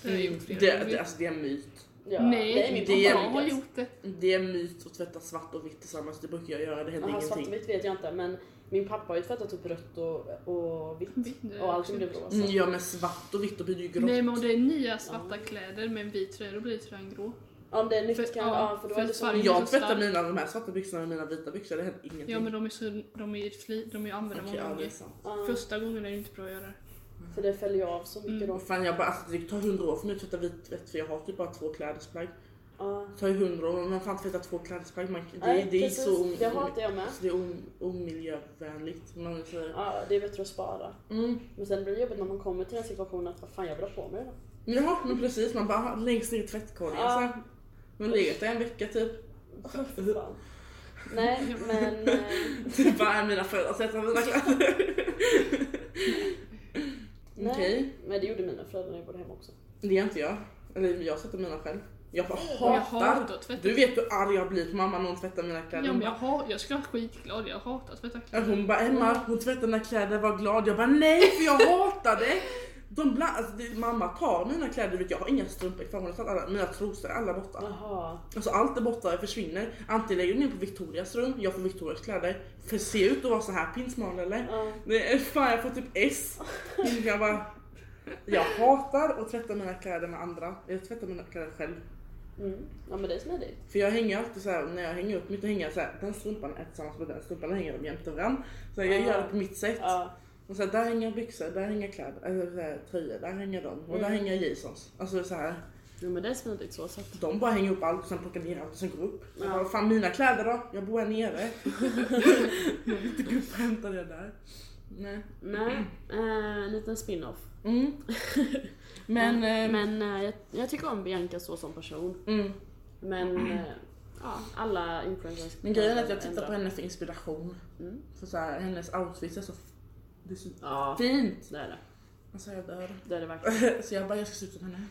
[SPEAKER 3] Det har jag gjort flera
[SPEAKER 2] Det,
[SPEAKER 3] gånger.
[SPEAKER 2] det, alltså, det är en myt.
[SPEAKER 1] Ja,
[SPEAKER 3] Nej,
[SPEAKER 1] min
[SPEAKER 2] det är
[SPEAKER 3] jag
[SPEAKER 1] pappa.
[SPEAKER 3] har gjort det.
[SPEAKER 2] Det är en myt att tvätta svart och vitt tillsammans. Det brukar jag göra. Det händer
[SPEAKER 1] Aha, svart och
[SPEAKER 2] ingenting.
[SPEAKER 1] vitt vet jag inte men min pappa har ju tvättat typ rött och, och vitt.
[SPEAKER 3] Vitt.
[SPEAKER 1] Och allting blev rosa.
[SPEAKER 2] Mm, ja men svart och vitt, då blir det ju grått.
[SPEAKER 3] Nej men om det är nya svarta kläder med en vit tröja då blir tröjan grå.
[SPEAKER 1] Om det är nytt
[SPEAKER 3] För-
[SPEAKER 1] kan ja,
[SPEAKER 3] ja,
[SPEAKER 1] för då
[SPEAKER 3] för
[SPEAKER 1] är det så.
[SPEAKER 3] farg-
[SPEAKER 2] jag
[SPEAKER 3] inte så
[SPEAKER 2] tvättar
[SPEAKER 3] stark.
[SPEAKER 2] mina, de här svarta byxorna med mina vita byxor. Det händer ingenting.
[SPEAKER 3] Ja men de är så, de är ju fli, de är ju använda
[SPEAKER 2] Okej,
[SPEAKER 3] många
[SPEAKER 2] ja, det är
[SPEAKER 3] gånger.
[SPEAKER 2] sant.
[SPEAKER 1] Ja,
[SPEAKER 3] Första gången är det inte bra att göra det.
[SPEAKER 1] för det fäller ju av så mycket
[SPEAKER 3] Mm.
[SPEAKER 1] då.
[SPEAKER 2] Och fan jag bara, alltså det tar hundra år för mig att tvätta vitvett för jag har typ bara två klädesplagg.
[SPEAKER 1] Ja.
[SPEAKER 2] Det tar ju hundra år, men fan tvätta två klädesplagg, man, det,
[SPEAKER 1] Nej,
[SPEAKER 2] det är
[SPEAKER 1] precis.
[SPEAKER 2] så, om-
[SPEAKER 1] Det hatar jag med.
[SPEAKER 2] så det är om- omiljövänligt. Man säger.
[SPEAKER 1] Ja, det är bättre att spara.
[SPEAKER 2] Mm.
[SPEAKER 1] Men sen blir det jobbigt när man kommer till den situationen att vad fan jag vill ha på mig då.
[SPEAKER 2] Ja men precis, man bara aha, längst ner i tvättkorgen
[SPEAKER 1] Ja.
[SPEAKER 2] så här. Man har legat där en vecka typ.
[SPEAKER 1] Åh, för fan. Nej men eh,
[SPEAKER 2] Typ bara, är mina föräldrar tvättar mina kläder. Okej,
[SPEAKER 1] Nej. men det gjorde mina föräldrar när jag bodde hemma också.
[SPEAKER 2] det är inte jag. Eller jag tvättar mina själv. Jag bara
[SPEAKER 3] Och Jag
[SPEAKER 2] hatar.
[SPEAKER 3] hatar att tvätta.
[SPEAKER 2] Du vet hur arg jag blir på mamma när hon tvättar mina
[SPEAKER 3] Ja,
[SPEAKER 2] kläder.
[SPEAKER 3] men
[SPEAKER 2] Hon
[SPEAKER 3] jag,
[SPEAKER 2] bara,
[SPEAKER 3] har, jag skulle vara skitglad, jag hatar att tvätta
[SPEAKER 2] Ja,
[SPEAKER 3] kläder.
[SPEAKER 2] Hon bara
[SPEAKER 3] Mm.
[SPEAKER 2] Emma, hon tvättar mina kläder, var glad. Jag bara nej för jag hatar det. De bla, alltså, det, mamma tar mina kläder, du vet, jag har inga strumpor kvar. Hon har tagit alla, mina trosor, alla
[SPEAKER 3] Mm.
[SPEAKER 2] borta.
[SPEAKER 1] Jaha.
[SPEAKER 2] Alltså allt är borta, det försvinner. Antingen lägger hon in på Victorias rum, jag får Victorias kläder. För se ut att vara så här pinsmal eller?
[SPEAKER 1] Ja.
[SPEAKER 2] Det är, fan jag får typ S. Jag bara, jag hatar att tvätta mina kläder med andra. Jag tvättar mina kläder själv.
[SPEAKER 1] Mm. ja men det är smidigt.
[SPEAKER 2] För jag hänger alltid så här, när jag hänger upp mitt, då hänger jag så här, den strumpan är tillsammans med den strumpan, då hänger de jämte varandra. Så jag
[SPEAKER 1] Ah.
[SPEAKER 2] gör det på mitt sätt.
[SPEAKER 1] Ja.
[SPEAKER 2] Och så här, där hänger byxor, där hänger kläder, eller så här, tröjor, där hänger de och där
[SPEAKER 1] Mm.
[SPEAKER 2] hänger Jasons. Alltså så här,
[SPEAKER 1] Jo men det är smidigt så. så att...
[SPEAKER 2] de bara hänger upp allt och sen plockar ner allt och sen går upp. Jag
[SPEAKER 1] Ja.
[SPEAKER 2] bara, fan mina kläder då? Jag bor här nere. jag vill inte gå upp och hämta det där. Nej.
[SPEAKER 1] Nej, eh, en liten spin-off.
[SPEAKER 2] Mm. Men, eh,
[SPEAKER 1] Men eh, jag, jag tycker om Bianca så som person.
[SPEAKER 2] Mm.
[SPEAKER 1] Men eh, ja, alla influencers
[SPEAKER 2] men grejen är att jag
[SPEAKER 1] ändrar.
[SPEAKER 2] tittar på henne för inspiration.
[SPEAKER 1] Mm.
[SPEAKER 2] För så här, hennes outfits är så, f- det är så
[SPEAKER 1] Ja,
[SPEAKER 2] fint.
[SPEAKER 1] det är det.
[SPEAKER 2] Alltså jag dör.
[SPEAKER 1] Det är det verkligen.
[SPEAKER 2] Så jag bara, jag ska se ut som henne.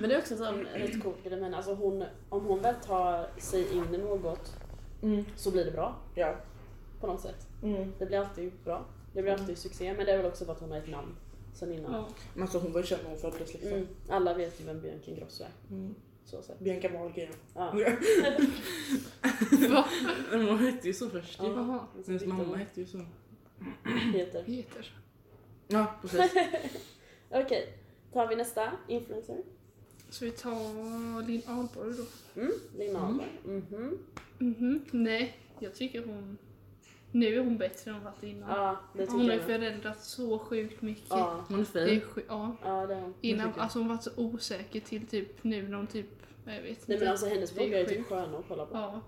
[SPEAKER 1] men det är också en sån rätt cool grej men alltså hon, om hon väl tar sig in i något
[SPEAKER 2] Mm.
[SPEAKER 1] så blir det bra
[SPEAKER 2] Ja.
[SPEAKER 1] på något sätt.
[SPEAKER 2] Mm.
[SPEAKER 1] Det blir alltid bra. Det blir alltid succé men det är väl också för att hon har ett namn sen innan.
[SPEAKER 3] Ja.
[SPEAKER 2] Men alltså hon var ju känd när hon föddes liksom.
[SPEAKER 1] Mm. Alla vet ju vem Bianca Ingrosso är.
[SPEAKER 2] Mm.
[SPEAKER 1] Så sett.
[SPEAKER 2] Bianca Wahlgren.
[SPEAKER 1] Ja.
[SPEAKER 3] Va?
[SPEAKER 2] Men hon hette ju så först ju.
[SPEAKER 1] Ja.
[SPEAKER 3] Jaha,
[SPEAKER 2] Hennes mamma hette ju så.
[SPEAKER 1] heter.
[SPEAKER 3] heter.
[SPEAKER 2] Ja precis.
[SPEAKER 1] Okej, tar vi nästa influencer?
[SPEAKER 3] Så vi tar Linn Ahlborg då.
[SPEAKER 1] Mm. Lina Ahlberg. Mhm.
[SPEAKER 3] Mhm, Nej, jag tycker hon... Nu är hon bättre än hon varit innan.
[SPEAKER 1] Ja, det tycker
[SPEAKER 3] hon har ju
[SPEAKER 1] jag. med.
[SPEAKER 3] förändrats så sjukt mycket.
[SPEAKER 1] Ja,
[SPEAKER 2] Hon är
[SPEAKER 3] Det är
[SPEAKER 2] fin.
[SPEAKER 3] sju- ja.
[SPEAKER 1] ja det är hon.
[SPEAKER 3] Innan,
[SPEAKER 2] tycker jag.
[SPEAKER 3] alltså hon varit så osäker till typ nu när hon typ... Jag vet inte.
[SPEAKER 1] Nej men alltså hennes
[SPEAKER 3] Det är
[SPEAKER 1] vloggar är typ
[SPEAKER 3] sjukt.
[SPEAKER 1] sköna att kolla på.
[SPEAKER 3] Ja.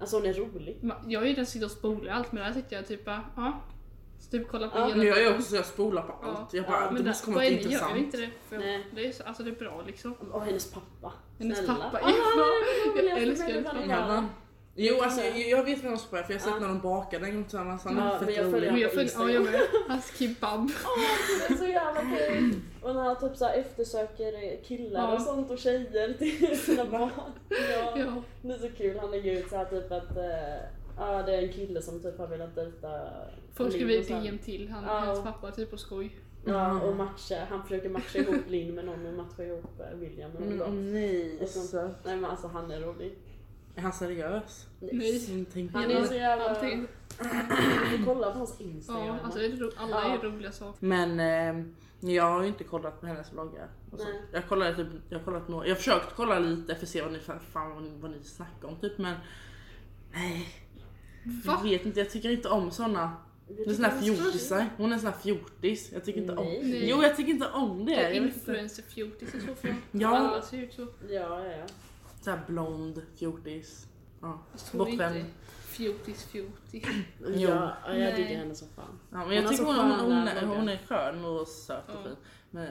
[SPEAKER 1] Alltså hon är rolig.
[SPEAKER 3] Ma- Jag är ju den som sitter och spolar allt men där tyckte jag typ bara, ja. Så typ kolla på
[SPEAKER 1] Ja.
[SPEAKER 2] Men
[SPEAKER 3] hela...
[SPEAKER 2] jag är också så jag spolar på allt. Jag bara,
[SPEAKER 1] Ja,
[SPEAKER 2] det
[SPEAKER 3] Men
[SPEAKER 2] måste
[SPEAKER 3] där,
[SPEAKER 2] komma
[SPEAKER 3] vad
[SPEAKER 2] något
[SPEAKER 3] är ni? Gör ju
[SPEAKER 2] intressant.
[SPEAKER 3] inte det. För
[SPEAKER 1] Nej.
[SPEAKER 3] det är, så, alltså det är bra liksom.
[SPEAKER 1] Och hennes pappa.
[SPEAKER 3] Hennes
[SPEAKER 1] Snälla.
[SPEAKER 3] pappa är-
[SPEAKER 1] Ah, det är
[SPEAKER 3] Jag
[SPEAKER 1] roligt.
[SPEAKER 3] älskar
[SPEAKER 1] Jag följer
[SPEAKER 3] hennes pappa.
[SPEAKER 1] henne varje dag.
[SPEAKER 2] Jo alltså jag, jag vet vem hon spolar för jag har sett
[SPEAKER 1] Ja.
[SPEAKER 2] när de bakade en gång tillsammans. Han
[SPEAKER 1] Ja,
[SPEAKER 2] är
[SPEAKER 1] men
[SPEAKER 2] fett
[SPEAKER 1] jag
[SPEAKER 2] rolig.
[SPEAKER 1] följer-
[SPEAKER 3] Och jag följer,
[SPEAKER 1] Instagram.
[SPEAKER 3] ja jag med. Hans kebab.
[SPEAKER 1] Det är så jävla kul. Och när han typ så här eftersöker eh, killar
[SPEAKER 3] Ja.
[SPEAKER 1] och sånt och tjejer till sina barn. Ja.
[SPEAKER 3] Ja.
[SPEAKER 1] Det är så kul, han lägger ut så här typ att eh, ja det är en kille som typ har velat dejta
[SPEAKER 3] Först ska
[SPEAKER 1] Linn
[SPEAKER 3] vi
[SPEAKER 1] och sen-
[SPEAKER 3] DM till han,
[SPEAKER 1] Ja.
[SPEAKER 3] hans pappa typ på skoj.
[SPEAKER 1] Ja, och matcha. Han försöker matcha ihop Linn med någon och matcha ihop eh, William med
[SPEAKER 3] Mm,
[SPEAKER 2] Men åh
[SPEAKER 1] någon. då.
[SPEAKER 2] Mm, nej.
[SPEAKER 1] Och sånt. Nej men alltså han är rolig.
[SPEAKER 2] Är han seriös?
[SPEAKER 3] Nej.
[SPEAKER 2] Mm, tänk på
[SPEAKER 1] Han
[SPEAKER 2] det.
[SPEAKER 1] är så jävla...
[SPEAKER 3] Allting.
[SPEAKER 1] Du får kolla på hans instagram.
[SPEAKER 3] Ja, alltså det är ro- alla är
[SPEAKER 1] Ja.
[SPEAKER 3] roliga saker.
[SPEAKER 2] Men eh, jag har ju inte kollat på hennes vloggar. Och så.
[SPEAKER 1] Nej.
[SPEAKER 2] Jag kollade typ, jag har kollat några, jag har försökt kolla lite för att se vad ni, fan, vad ni, vad ni snackar om typ men nej. Jag
[SPEAKER 3] Va?
[SPEAKER 2] vet inte, jag tycker inte om såna.
[SPEAKER 1] Du
[SPEAKER 2] Det är
[SPEAKER 1] tycker
[SPEAKER 2] såna här
[SPEAKER 1] han är så-
[SPEAKER 2] fjortisar. Hon är en sån här fjortis. Jag tycker inte om
[SPEAKER 1] Nej.
[SPEAKER 3] Nej.
[SPEAKER 2] Jo jag tycker inte om det.
[SPEAKER 3] Det är
[SPEAKER 2] Jag vet inte.
[SPEAKER 3] influencer-fjortis i så fall.
[SPEAKER 2] Ja.
[SPEAKER 3] Alla ser ut så.
[SPEAKER 1] Ja, ja, ja.
[SPEAKER 2] Så här blond fjortis. Ja.
[SPEAKER 3] Fast hon är
[SPEAKER 2] Bortskämd.
[SPEAKER 3] inte fjortis-fjortis.
[SPEAKER 2] Jo.
[SPEAKER 1] Ja, ja, jag
[SPEAKER 3] Nej.
[SPEAKER 1] diggar henne som fan.
[SPEAKER 2] Ja, men jag
[SPEAKER 1] Hon har
[SPEAKER 2] tycker
[SPEAKER 1] så
[SPEAKER 2] hon, hon,
[SPEAKER 1] sköna
[SPEAKER 2] hon, är-
[SPEAKER 1] vloggar.
[SPEAKER 2] hon är skön och söt och
[SPEAKER 3] Ja.
[SPEAKER 2] fin. Men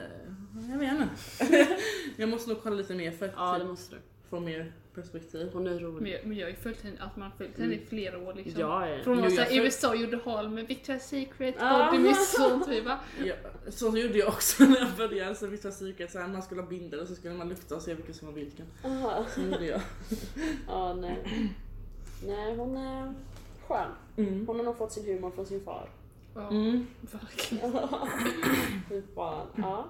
[SPEAKER 2] jag vet inte. jag måste nog kolla lite mer för att
[SPEAKER 1] Ja, det
[SPEAKER 2] typ
[SPEAKER 1] måste du.
[SPEAKER 2] få mer perspektiv.
[SPEAKER 1] Hon är rolig.
[SPEAKER 3] Men jag, men jag har ju följt henne, att man har följt henne i flera år liksom.
[SPEAKER 1] Ja, ja.
[SPEAKER 3] För hon var
[SPEAKER 2] Jo, jag
[SPEAKER 3] såhär, i
[SPEAKER 2] följ-
[SPEAKER 3] USA gjorde hal med Victoria's Secret,
[SPEAKER 1] Ah.
[SPEAKER 3] Body Miss och typ va?
[SPEAKER 2] Ja, så gjorde jag också när jag började. Så vissa psyket så här, man skulle ha binder och så skulle man lukta och se vilken som var vilken.
[SPEAKER 1] Aha.
[SPEAKER 2] Så gjorde jag.
[SPEAKER 1] Ja, nej. Nej, hon är skön.
[SPEAKER 2] Mm.
[SPEAKER 1] Hon har nog fått sin humor från sin far.
[SPEAKER 3] Ja,
[SPEAKER 2] Mm.
[SPEAKER 3] verkligen.
[SPEAKER 1] Fy fan. Ja.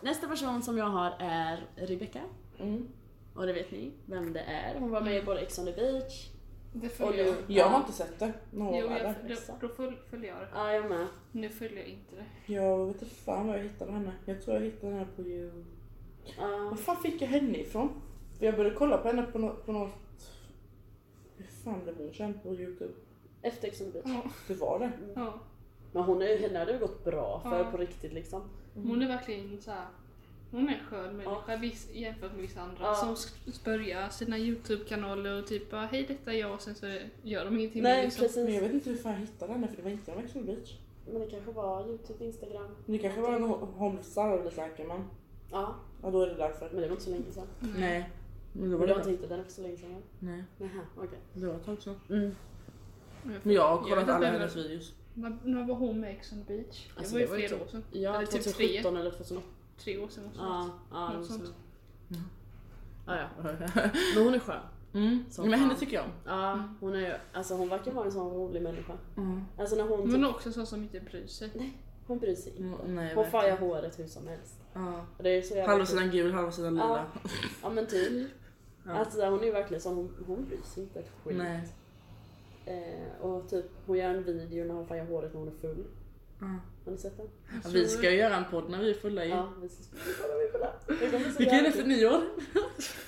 [SPEAKER 1] Nästa person som jag har är Rebecca.
[SPEAKER 2] Mm.
[SPEAKER 1] Och det vet ni vem det är. Hon var med
[SPEAKER 3] Mm.
[SPEAKER 1] i både Ex on the beach
[SPEAKER 3] Det
[SPEAKER 1] och
[SPEAKER 3] följer
[SPEAKER 1] nu...
[SPEAKER 3] jag.
[SPEAKER 2] Jag har inte sett det. Några
[SPEAKER 3] Jo, jag,
[SPEAKER 2] jag...
[SPEAKER 3] då, då föl- följer jag det.
[SPEAKER 1] Ja, jag med.
[SPEAKER 3] Nu följer jag inte det.
[SPEAKER 2] jag vet inte fan var jag hittade henne. Jag tror jag hittade henne på ju...
[SPEAKER 1] Ja.
[SPEAKER 2] Var fan fick jag henne ifrån? För jag började kolla på henne på, nå på något... Hur fan blev hon känd på Youtube?
[SPEAKER 1] Efter Ex on the beach.
[SPEAKER 3] Ja.
[SPEAKER 2] Det var det.
[SPEAKER 3] Ja.
[SPEAKER 1] Men hon är, henne har det gått bra för
[SPEAKER 3] Ja.
[SPEAKER 1] på riktigt liksom.
[SPEAKER 3] Hon är verkligen så här. Hon är en skön människa viss, jämfört med vissa andra
[SPEAKER 1] Ja.
[SPEAKER 3] som sk- börjar sina YouTube-kanaler och typ bara hej detta är jag och sen så gör de ingenting mer
[SPEAKER 1] Nej,
[SPEAKER 3] liksom.
[SPEAKER 2] Men jag
[SPEAKER 1] precis.
[SPEAKER 2] vet inte hur fan jag hittade henne för det var inte en Ex on the Beach.
[SPEAKER 1] Men det kanske var Youtube, Instagram.
[SPEAKER 2] Men Det kanske var en ho- homsar eller säker man.
[SPEAKER 1] Ja,
[SPEAKER 2] Ja då är det därför.
[SPEAKER 1] men det var inte så länge sedan.
[SPEAKER 3] Mm.
[SPEAKER 2] Nej. Men det
[SPEAKER 1] Men du har inte hittat den för så länge sedan? Mm.
[SPEAKER 2] Nej.
[SPEAKER 1] Nähä, okej.
[SPEAKER 2] Det var ett tag sedan. Men
[SPEAKER 3] Men
[SPEAKER 2] jag har
[SPEAKER 3] Jag vet
[SPEAKER 2] kollat
[SPEAKER 3] inte
[SPEAKER 2] alla
[SPEAKER 3] vem-
[SPEAKER 2] hennes videos.
[SPEAKER 3] När, när var hon med Ex on the Beach? Det
[SPEAKER 1] Alltså,
[SPEAKER 3] var ju
[SPEAKER 1] det var ju
[SPEAKER 3] flera
[SPEAKER 1] typ-
[SPEAKER 3] år sedan.
[SPEAKER 1] Ja,
[SPEAKER 3] Eller typ
[SPEAKER 1] 2017 eller 2008.
[SPEAKER 3] Tre år sedan måste det
[SPEAKER 1] Ja,
[SPEAKER 3] vara.
[SPEAKER 1] ja,
[SPEAKER 3] Något
[SPEAKER 1] det
[SPEAKER 3] sånt.
[SPEAKER 1] måste det. ja. ja. Men hon är skön.
[SPEAKER 2] Mm.
[SPEAKER 1] Som
[SPEAKER 2] Men henne
[SPEAKER 1] fan.
[SPEAKER 2] tycker jag om.
[SPEAKER 1] Ja, hon, är, ju- alltså, hon verkar vara en sån rolig människa.
[SPEAKER 2] Mm.
[SPEAKER 1] Alltså när hon, typ-
[SPEAKER 3] Men också en sån som inte bryr sig.
[SPEAKER 1] hon bryr sig inte.
[SPEAKER 2] Mm, nej,
[SPEAKER 1] hon
[SPEAKER 2] verkligen.
[SPEAKER 1] färgar håret hur som helst.
[SPEAKER 2] Ja.
[SPEAKER 1] Och det är så jävla
[SPEAKER 2] Halva
[SPEAKER 1] kul.
[SPEAKER 2] sidan gul, halva sidan
[SPEAKER 1] Ja.
[SPEAKER 2] lila.
[SPEAKER 1] Ja men typ.
[SPEAKER 2] Ja.
[SPEAKER 1] Alltså hon är ju verkligen sån, hon, hon bryr sig inte ett skit.
[SPEAKER 2] Nej.
[SPEAKER 1] Eh, och typ hon gör en video när hon färgar håret när hon är full.
[SPEAKER 2] Ja.
[SPEAKER 1] Har ni sett den?
[SPEAKER 3] Jag tror-
[SPEAKER 2] Vi ska ju göra en podd när vi är fulla ju.
[SPEAKER 1] Ja, vi ska kolla vi kolla. Det kommer bli så
[SPEAKER 2] Vi kan göra det
[SPEAKER 1] jävla
[SPEAKER 2] efter
[SPEAKER 1] kul.
[SPEAKER 2] nyår.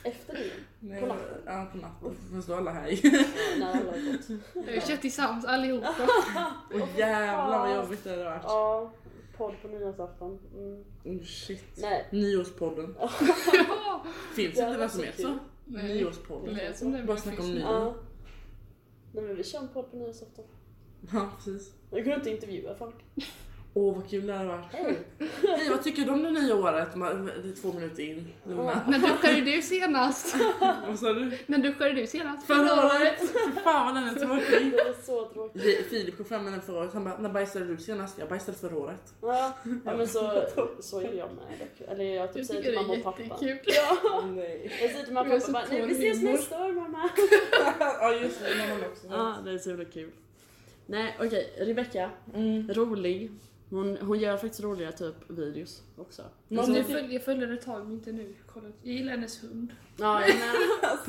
[SPEAKER 1] Efter nyår.
[SPEAKER 2] Nej.
[SPEAKER 1] På natten.
[SPEAKER 2] Ja, på natten. Fast då är alla här ju.
[SPEAKER 1] Ja, När alla har gått.
[SPEAKER 3] Vi kör tillsammans allihopa.
[SPEAKER 2] Åh jävlar vad jobbigt det hade varit.
[SPEAKER 1] Ja, podd på nyårsafton. Mm.
[SPEAKER 2] Oh, shit.
[SPEAKER 1] Nej.
[SPEAKER 2] Nyårspodden.
[SPEAKER 3] ja!
[SPEAKER 2] Finns
[SPEAKER 1] Det
[SPEAKER 2] inte
[SPEAKER 1] var
[SPEAKER 2] vad som
[SPEAKER 1] så
[SPEAKER 2] heter
[SPEAKER 1] kul.
[SPEAKER 2] så?
[SPEAKER 3] Nej. Mm.
[SPEAKER 2] Nyårspodden.
[SPEAKER 3] Lät som den
[SPEAKER 2] Bara snacka om
[SPEAKER 3] finns.
[SPEAKER 2] ny-
[SPEAKER 1] Ja. Nej men vi kör en podd på nyårsafton.
[SPEAKER 2] Ja precis.
[SPEAKER 1] Vi går inte intervjua folk.
[SPEAKER 2] Åh vad kul det hade varit.
[SPEAKER 1] Hej!
[SPEAKER 2] Hej vad tycker du om det nya året? Man- Det är två minuter in. Luna.
[SPEAKER 3] När duschade du senast?
[SPEAKER 2] Vad sa du?
[SPEAKER 3] När duschade du senast?
[SPEAKER 2] Förra året! Fy fan vad den är tråkig.
[SPEAKER 1] Det är så tråkigt.
[SPEAKER 2] Vi- Filip kom fram med den förra året, han bara när bajsade du senast? Jag bajsade förra året.
[SPEAKER 1] Ja, ja men så, så är jag med. dock. Eller jag typ
[SPEAKER 3] Jag
[SPEAKER 1] säger
[SPEAKER 3] tycker
[SPEAKER 1] till
[SPEAKER 3] det
[SPEAKER 1] mamma
[SPEAKER 3] är
[SPEAKER 1] och pappa.
[SPEAKER 3] jättekul.
[SPEAKER 2] Nej.
[SPEAKER 1] Jag säger till mamma
[SPEAKER 3] Du är
[SPEAKER 1] och
[SPEAKER 3] så
[SPEAKER 1] pappa bara, nej
[SPEAKER 3] tål
[SPEAKER 1] vi ses
[SPEAKER 3] humor."
[SPEAKER 1] nästa år mamma.
[SPEAKER 2] ja just det, den har man också.
[SPEAKER 1] Ja, det är så jävla kul. Nej okej, Rebecca,
[SPEAKER 2] Mm.
[SPEAKER 1] rolig. Hon, hon gör faktiskt roliga typ videos också.
[SPEAKER 2] Någon-
[SPEAKER 3] Alltså, jag, följ, jag följde det ett tag men inte nu. Kolla. Jag gillar hennes hund.
[SPEAKER 1] Ja, jag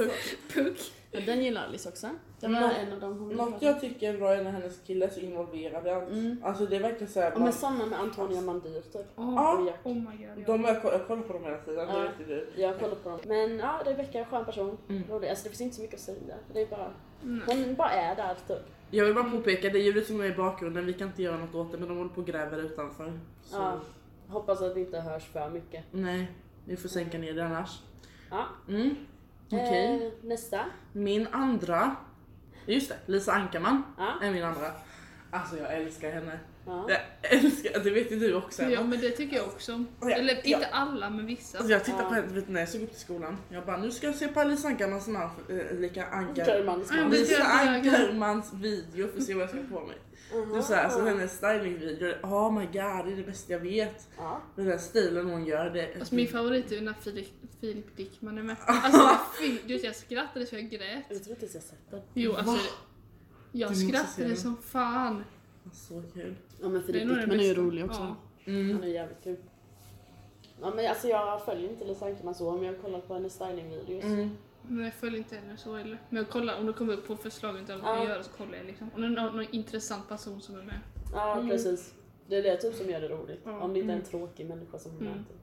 [SPEAKER 1] med.
[SPEAKER 3] Puck.
[SPEAKER 1] Ja, Den gillar Alice också. Det var
[SPEAKER 2] Nå-
[SPEAKER 1] en av dem hon ville
[SPEAKER 2] Något
[SPEAKER 1] prata om.
[SPEAKER 2] jag tycker är bra är när hennes kille är så involverad i allt.
[SPEAKER 1] Mm.
[SPEAKER 2] Alltså det är verkligen såhär,
[SPEAKER 1] Ja, men samma med Antonia Mandir typ.
[SPEAKER 3] Oh,
[SPEAKER 2] Ja.
[SPEAKER 1] Och Jack.
[SPEAKER 3] oh my god. Ja.
[SPEAKER 2] de, jag, kollar, jag kollar på dem hela tiden, det
[SPEAKER 1] Ja.
[SPEAKER 2] är riktigt dyrt.
[SPEAKER 1] Jag kollar på dem. Men ja, Rebecca är en skön person.
[SPEAKER 2] Mm.
[SPEAKER 1] Rolig. Alltså det finns inte så mycket att säga. Det är bara,
[SPEAKER 3] Nej.
[SPEAKER 1] hon bara är där typ.
[SPEAKER 2] Jag vill bara påpeka, det är ljudet som är i bakgrunden, vi kan inte göra något åt det men de håller på och gräver utanför. Så
[SPEAKER 1] Ja. Hoppas att det inte hörs för mycket.
[SPEAKER 2] nej, vi får sänka ner det annars.
[SPEAKER 1] Ja.
[SPEAKER 2] Mm. Okej,
[SPEAKER 1] Eh, nästa.
[SPEAKER 2] min andra, just det, Lisa Ankarman
[SPEAKER 1] Ja.
[SPEAKER 2] är min andra. Alltså jag älskar henne.
[SPEAKER 1] Ja.
[SPEAKER 2] Jag älskar, det vet ju du också Emma.
[SPEAKER 3] Ja men det tycker jag också.
[SPEAKER 2] Ja,
[SPEAKER 3] Eller
[SPEAKER 2] ja.
[SPEAKER 3] inte alla men vissa.
[SPEAKER 2] Alltså jag tittade
[SPEAKER 1] Ja.
[SPEAKER 2] på henne vet, du, när jag såg upp till skolan. Jag bara nu ska jag se på Alice Ankarmans man, eh, lika Ankar.
[SPEAKER 1] Germans
[SPEAKER 3] Ja,
[SPEAKER 1] man.
[SPEAKER 3] men-
[SPEAKER 2] Lisa
[SPEAKER 3] jag-
[SPEAKER 2] Ankarmans video för att se vad jag ska få mig. Det är så här, alltså hennes stylingvideo, oh my god det är det bästa jag vet.
[SPEAKER 1] Ja.
[SPEAKER 2] Den där stilen hon gör. Det,
[SPEAKER 3] Alltså, min favorit är när Filip, Filip Dickman är med. Alltså, Filip, du vet, jag skrattade så jag grät.
[SPEAKER 1] Jag tror inte ens jag sett den.
[SPEAKER 3] Jo alltså.
[SPEAKER 2] Va?
[SPEAKER 3] Jag
[SPEAKER 2] Du måste se
[SPEAKER 3] skrattade
[SPEAKER 2] den.
[SPEAKER 3] som fan.
[SPEAKER 2] Så kul.
[SPEAKER 1] Ja men
[SPEAKER 3] Det är
[SPEAKER 1] Filip
[SPEAKER 3] nog den
[SPEAKER 1] Dickman är ju
[SPEAKER 3] bästa.
[SPEAKER 1] rolig också.
[SPEAKER 3] Ja.
[SPEAKER 2] Mm.
[SPEAKER 1] Han är jävligt grym. Ja, men alltså jag följer inte Lisa Ankerman så, men jag har kollat på hennes stylingvideos.
[SPEAKER 2] Mm.
[SPEAKER 3] Men jag följer inte heller så heller. Men jag kollar, om det kommer upp på förslag inte vad
[SPEAKER 1] Ja.
[SPEAKER 3] jag gör så kollar jag liksom. Om det är någon, någon intressant person som är med.
[SPEAKER 1] Ja,
[SPEAKER 2] Mm.
[SPEAKER 1] precis. Det är det typ som gör det roligt.
[SPEAKER 3] Ja.
[SPEAKER 1] Om det inte är en
[SPEAKER 2] Mm.
[SPEAKER 1] tråkig människa som är med.
[SPEAKER 3] Mm.
[SPEAKER 1] Typ.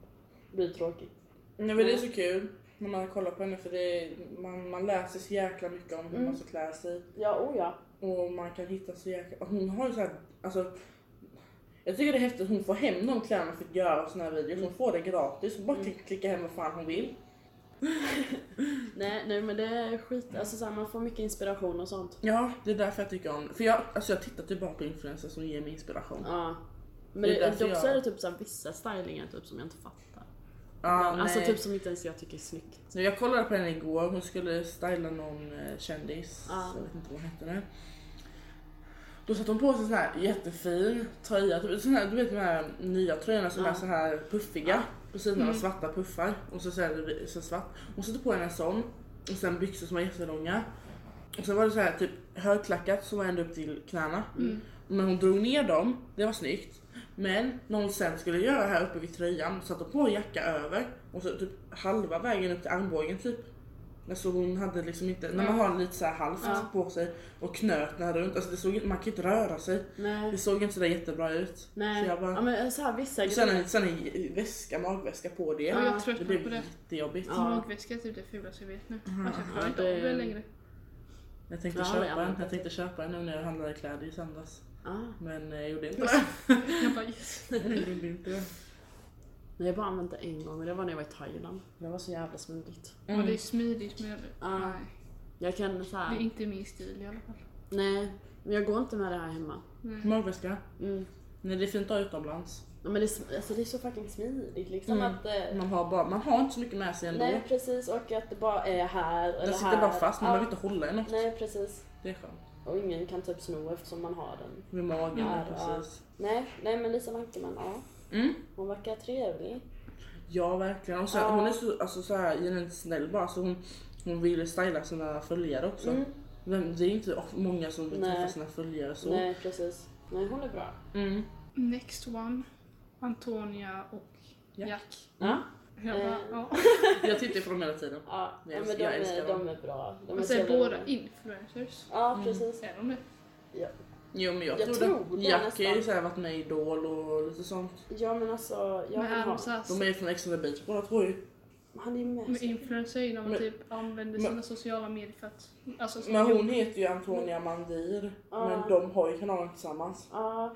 [SPEAKER 1] Det blir tråkigt.
[SPEAKER 2] Ja, men det är så kul när man kollar på henne för det är, man, man lär sig så jäkla mycket om hur
[SPEAKER 1] Mm.
[SPEAKER 2] man ska klä sig.
[SPEAKER 1] Ja, oh ja.
[SPEAKER 2] Och man kan hitta så jäkla... och Hon har ju så här, alltså, jag tycker det är häftigt att hon får hem de kläderna för att göra såna här videos. Hon får det gratis. Hon bara
[SPEAKER 1] Mm.
[SPEAKER 2] klick- klickar hem vad fan hon vill.
[SPEAKER 1] Nej, nej men det är skit. Alltså så här, man får mycket inspiration och sånt.
[SPEAKER 2] Ja, det är därför jag tycker om För jag, alltså, jag tittar typ bara på influencers som ger mig inspiration. Ja,
[SPEAKER 1] Ja. Men
[SPEAKER 2] Det är
[SPEAKER 1] det,
[SPEAKER 2] därför
[SPEAKER 1] dock så
[SPEAKER 2] jag-
[SPEAKER 1] är det typ så här, vissa stylingar typ, som jag inte fattar. alltså
[SPEAKER 2] nej.
[SPEAKER 1] typ som inte ens jag tycker är snyggt.
[SPEAKER 2] Nu, Jag kollade på henne igår, hon skulle styla någon eh, kändis,
[SPEAKER 1] Ja.
[SPEAKER 2] jag vet inte vad hon hette nu. Då satte hon på sig sån här jättefin tröja, typ sån här, du vet de här nya tröjorna som
[SPEAKER 1] Ja.
[SPEAKER 2] är så här puffiga på sidorna
[SPEAKER 3] Mm.
[SPEAKER 2] svarta puffar och så, så, här, så svart. Hon satte på henne en sån och sen byxor som var jättelånga. Och sen var det så här typ högklackat som var ända upp till knäna.
[SPEAKER 3] Mm.
[SPEAKER 2] Men hon drog ner dem, det var snyggt. Men när hon sen skulle göra här uppe vid tröjan satte hon på en jacka över och så typ halva vägen upp till armbågen typ. Alltså hon hade liksom inte, när man har lite så här halvt
[SPEAKER 3] Ja.
[SPEAKER 2] på sig och knötna runt, alltså det såg, inte- man kan inte röra sig. Det
[SPEAKER 1] Nej.
[SPEAKER 2] såg inte sådär jättebra ut.
[SPEAKER 1] Nej.
[SPEAKER 2] Så jag bara,
[SPEAKER 1] Ja men så här vissa
[SPEAKER 2] sen,
[SPEAKER 1] grejer.
[SPEAKER 2] en, sen en väska, magväska på det.
[SPEAKER 3] Ja,
[SPEAKER 1] Ja,
[SPEAKER 3] jag
[SPEAKER 2] Det
[SPEAKER 3] tröttnar på
[SPEAKER 2] blev
[SPEAKER 3] det.
[SPEAKER 2] jättejobbigt.
[SPEAKER 1] Ja.
[SPEAKER 3] Magväska är typ det fulaste jag vet nu. Alltså jag
[SPEAKER 1] ja,
[SPEAKER 3] klarar inte
[SPEAKER 1] det-
[SPEAKER 3] av det längre.
[SPEAKER 2] Jag tänkte
[SPEAKER 1] Ja, det är
[SPEAKER 2] köpa en,
[SPEAKER 1] annat.
[SPEAKER 2] jag tänkte köpa en nu när jag handlade kläder i söndags.
[SPEAKER 1] Ah.
[SPEAKER 2] Men eh, jag gjorde inte det.
[SPEAKER 3] Jag bara yes.
[SPEAKER 2] Jag gjorde inte det.
[SPEAKER 1] Nej, jag har bara använt det en gång och det var när jag var i Thailand. Det var så jävla smidigt.
[SPEAKER 3] Och
[SPEAKER 2] Mm.
[SPEAKER 3] det är smidigt men
[SPEAKER 1] Ja.
[SPEAKER 2] Ah.
[SPEAKER 3] nej.
[SPEAKER 1] Jag kan så
[SPEAKER 3] Det är
[SPEAKER 1] här.
[SPEAKER 3] inte min stil i alla fall.
[SPEAKER 1] Nej, men jag går inte med det här hemma.
[SPEAKER 3] Nej.
[SPEAKER 2] Magväska.
[SPEAKER 1] Mm.
[SPEAKER 2] Nej det är fint att ha utomlands.
[SPEAKER 1] Ja, Men det, är sm- alltså, det är så fucking smidigt liksom
[SPEAKER 2] Mm.
[SPEAKER 1] att... Eh,
[SPEAKER 2] Man har, bara, man har inte så mycket med sig ändå.
[SPEAKER 1] nej precis och att det bara är här eller
[SPEAKER 2] den
[SPEAKER 1] här.
[SPEAKER 2] sitter bara fast, man
[SPEAKER 1] Ja.
[SPEAKER 2] behöver inte hålla i något.
[SPEAKER 1] Nej precis.
[SPEAKER 2] Det är skönt.
[SPEAKER 1] Och ingen kan typ sno eftersom man har den.
[SPEAKER 2] Vid magen,
[SPEAKER 1] Ja,
[SPEAKER 2] precis.
[SPEAKER 1] Nej, nej men Lisa Ankerman, ja.
[SPEAKER 2] Mm.
[SPEAKER 1] Hon verkar trevlig.
[SPEAKER 2] Ja verkligen. Och så,
[SPEAKER 1] Ja.
[SPEAKER 2] Hon är så, alltså, så här, genuint snäll bara. Så hon, hon vill styla sina följare också.
[SPEAKER 1] Mm.
[SPEAKER 2] Men det är inte of- många som vill
[SPEAKER 1] Nej.
[SPEAKER 2] träffa sina följare så.
[SPEAKER 1] Nej precis. Nej hon är bra.
[SPEAKER 2] Mm.
[SPEAKER 3] Next one. Antonia och
[SPEAKER 2] Jack.
[SPEAKER 3] Jack.
[SPEAKER 1] Ja.
[SPEAKER 3] Jag bara,
[SPEAKER 1] Eh.
[SPEAKER 3] ja.
[SPEAKER 2] Mm. Jag tittar på dem hela tiden.
[SPEAKER 1] Ja,
[SPEAKER 2] Jag
[SPEAKER 1] ja men
[SPEAKER 2] älskar-
[SPEAKER 1] de
[SPEAKER 2] jag
[SPEAKER 1] är,
[SPEAKER 2] älskar
[SPEAKER 1] de
[SPEAKER 2] dem.
[SPEAKER 1] är bra. De
[SPEAKER 3] Alltså är
[SPEAKER 1] så jävla
[SPEAKER 3] båda
[SPEAKER 1] roliga.
[SPEAKER 3] influencers?
[SPEAKER 1] Ja
[SPEAKER 2] Mm.
[SPEAKER 1] precis.
[SPEAKER 3] Är de det?
[SPEAKER 2] Jo men jag,
[SPEAKER 1] Jag tror det
[SPEAKER 2] Jack
[SPEAKER 1] nästan.
[SPEAKER 2] har ju så här varit med i Idol och lite sånt.
[SPEAKER 1] Ja men alltså, jag
[SPEAKER 3] Men
[SPEAKER 1] vill
[SPEAKER 3] är
[SPEAKER 1] ha.
[SPEAKER 3] de såhär
[SPEAKER 2] De är ju från Ex on the beach båda två ju.
[SPEAKER 1] Han är ju med.
[SPEAKER 3] Med influencer är de
[SPEAKER 2] Men-
[SPEAKER 3] typ använder
[SPEAKER 2] men-
[SPEAKER 3] sina sociala medier för att... Alltså, som
[SPEAKER 2] Men hon heter ju Antonia Mandir.
[SPEAKER 1] Ja.
[SPEAKER 2] Men de har ju kanalen tillsammans.
[SPEAKER 1] Ja.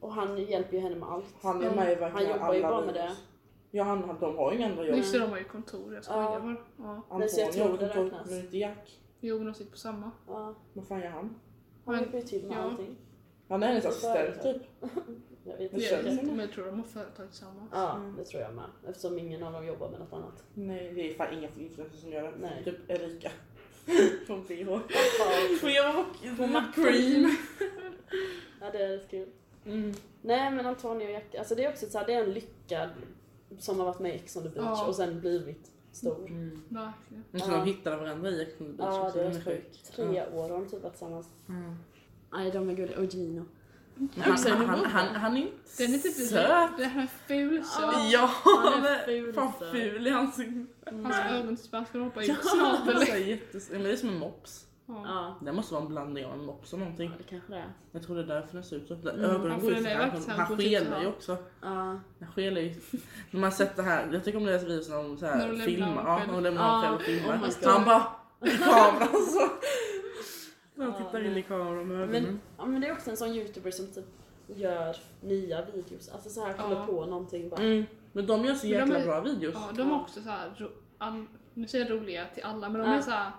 [SPEAKER 1] Och han hjälper ju henne med allt.
[SPEAKER 2] Han är
[SPEAKER 3] Mm.
[SPEAKER 2] med i verkligen
[SPEAKER 1] Han
[SPEAKER 2] alla
[SPEAKER 1] jobbar ju bara med
[SPEAKER 2] videos.
[SPEAKER 1] det.
[SPEAKER 2] Ja, han, de har ju inga andra jobb.
[SPEAKER 3] Just det, de har ju kontor. Jag skojar
[SPEAKER 1] Ja.
[SPEAKER 3] bara. Ja.
[SPEAKER 1] Nej, så jag
[SPEAKER 2] Antonio
[SPEAKER 1] tror
[SPEAKER 2] har
[SPEAKER 1] det
[SPEAKER 2] kontor,
[SPEAKER 1] räknas.
[SPEAKER 2] men inte Jack.
[SPEAKER 3] Jo, men de sitter på samma.
[SPEAKER 1] Ja.
[SPEAKER 2] Vad fan gör han?
[SPEAKER 1] Han
[SPEAKER 3] Men-
[SPEAKER 1] hjälper ju till med
[SPEAKER 3] ja.
[SPEAKER 1] allting.
[SPEAKER 2] Han är hennes
[SPEAKER 1] Det är
[SPEAKER 2] assistent
[SPEAKER 1] företag.
[SPEAKER 2] typ.
[SPEAKER 1] Jag
[SPEAKER 2] Det
[SPEAKER 1] vet
[SPEAKER 3] Det
[SPEAKER 1] inte.
[SPEAKER 3] gör
[SPEAKER 2] känns
[SPEAKER 3] jag
[SPEAKER 2] som
[SPEAKER 3] inte,
[SPEAKER 2] det.
[SPEAKER 3] men jag tror de har företag tillsammans.
[SPEAKER 1] Ja,
[SPEAKER 2] Mm.
[SPEAKER 1] det tror jag med. Eftersom ingen av dem jobbar med något annat.
[SPEAKER 2] Nej, det är fan inga influencers som gör det.
[SPEAKER 1] Nej.
[SPEAKER 2] Typ Erika. Från BH.
[SPEAKER 1] Ja,
[SPEAKER 2] Får jag
[SPEAKER 1] På
[SPEAKER 2] vara
[SPEAKER 1] Macream. Ja, det är rätt kul.
[SPEAKER 2] Mm.
[SPEAKER 1] Nej men Antonio och Jack, alltså det är också så här, det är en lyckad som har varit med i Ex on the Beach
[SPEAKER 3] Ja.
[SPEAKER 1] och sen blivit stor.
[SPEAKER 2] Mm.
[SPEAKER 3] Verkligen.
[SPEAKER 2] Och så
[SPEAKER 1] Ja.
[SPEAKER 2] de hittar varandra i Ex on the beach.
[SPEAKER 1] Ja,
[SPEAKER 2] också.
[SPEAKER 1] det är
[SPEAKER 2] Den
[SPEAKER 1] rätt sjukt. Tre år har de typ varit tillsammans.
[SPEAKER 2] Mm.
[SPEAKER 1] Nej, de är gulliga. Och Gino.
[SPEAKER 2] Men Han,
[SPEAKER 1] Också en
[SPEAKER 2] han, han,
[SPEAKER 1] robot.
[SPEAKER 2] han, han är inte
[SPEAKER 3] Den är typ
[SPEAKER 2] söt.
[SPEAKER 3] Den här är ful söt.
[SPEAKER 2] Ja,
[SPEAKER 1] Han är
[SPEAKER 2] men
[SPEAKER 1] ful, alltså.
[SPEAKER 2] fan
[SPEAKER 1] Mm. söt.
[SPEAKER 2] ful är hans ögon.
[SPEAKER 3] Hans ögon ska de hoppa ut
[SPEAKER 2] Ja,
[SPEAKER 3] snart
[SPEAKER 2] han är
[SPEAKER 3] eller?
[SPEAKER 2] så här jättes- men det är som en mops.
[SPEAKER 3] Ja.
[SPEAKER 1] Ja.
[SPEAKER 2] Det måste vara en blandning av en mops och någonting.
[SPEAKER 1] ja, det kanske det är.
[SPEAKER 2] Jag tror det är därför den ser ut så.
[SPEAKER 1] Mm.
[SPEAKER 2] Ögonen
[SPEAKER 3] Ja,
[SPEAKER 2] går
[SPEAKER 3] för
[SPEAKER 2] ju
[SPEAKER 3] den är
[SPEAKER 2] så här.
[SPEAKER 3] verkligen
[SPEAKER 2] Han
[SPEAKER 3] på typ så
[SPEAKER 2] skelar ju
[SPEAKER 3] här.
[SPEAKER 2] också.
[SPEAKER 1] Ja.
[SPEAKER 2] Han skelar ju. När man sett det här. Jag tycker om deras videos när de så
[SPEAKER 3] När
[SPEAKER 2] här
[SPEAKER 3] de lämnar
[SPEAKER 2] filmar.
[SPEAKER 3] honom
[SPEAKER 2] Ja,
[SPEAKER 3] själv.
[SPEAKER 2] när de lämnar honom
[SPEAKER 1] Ja,
[SPEAKER 2] själv och filmar.
[SPEAKER 1] oh my God.
[SPEAKER 2] han bara i kameran så. När han
[SPEAKER 1] Ja,
[SPEAKER 2] tittar
[SPEAKER 1] nej.
[SPEAKER 2] in i kameran med
[SPEAKER 1] Men,
[SPEAKER 2] ögonen.
[SPEAKER 1] ja, men det är också en sån youtuber som typ gör nya videos. Alltså så här kommer
[SPEAKER 3] Ja.
[SPEAKER 1] på någonting bara.
[SPEAKER 2] Mm. Men de gör så
[SPEAKER 3] Men de
[SPEAKER 2] jäkla
[SPEAKER 3] är-
[SPEAKER 2] bra videos.
[SPEAKER 3] Ja, de är också så här, ro- all, nu säger jag roliga till alla, men de
[SPEAKER 1] Ja.
[SPEAKER 3] är så här,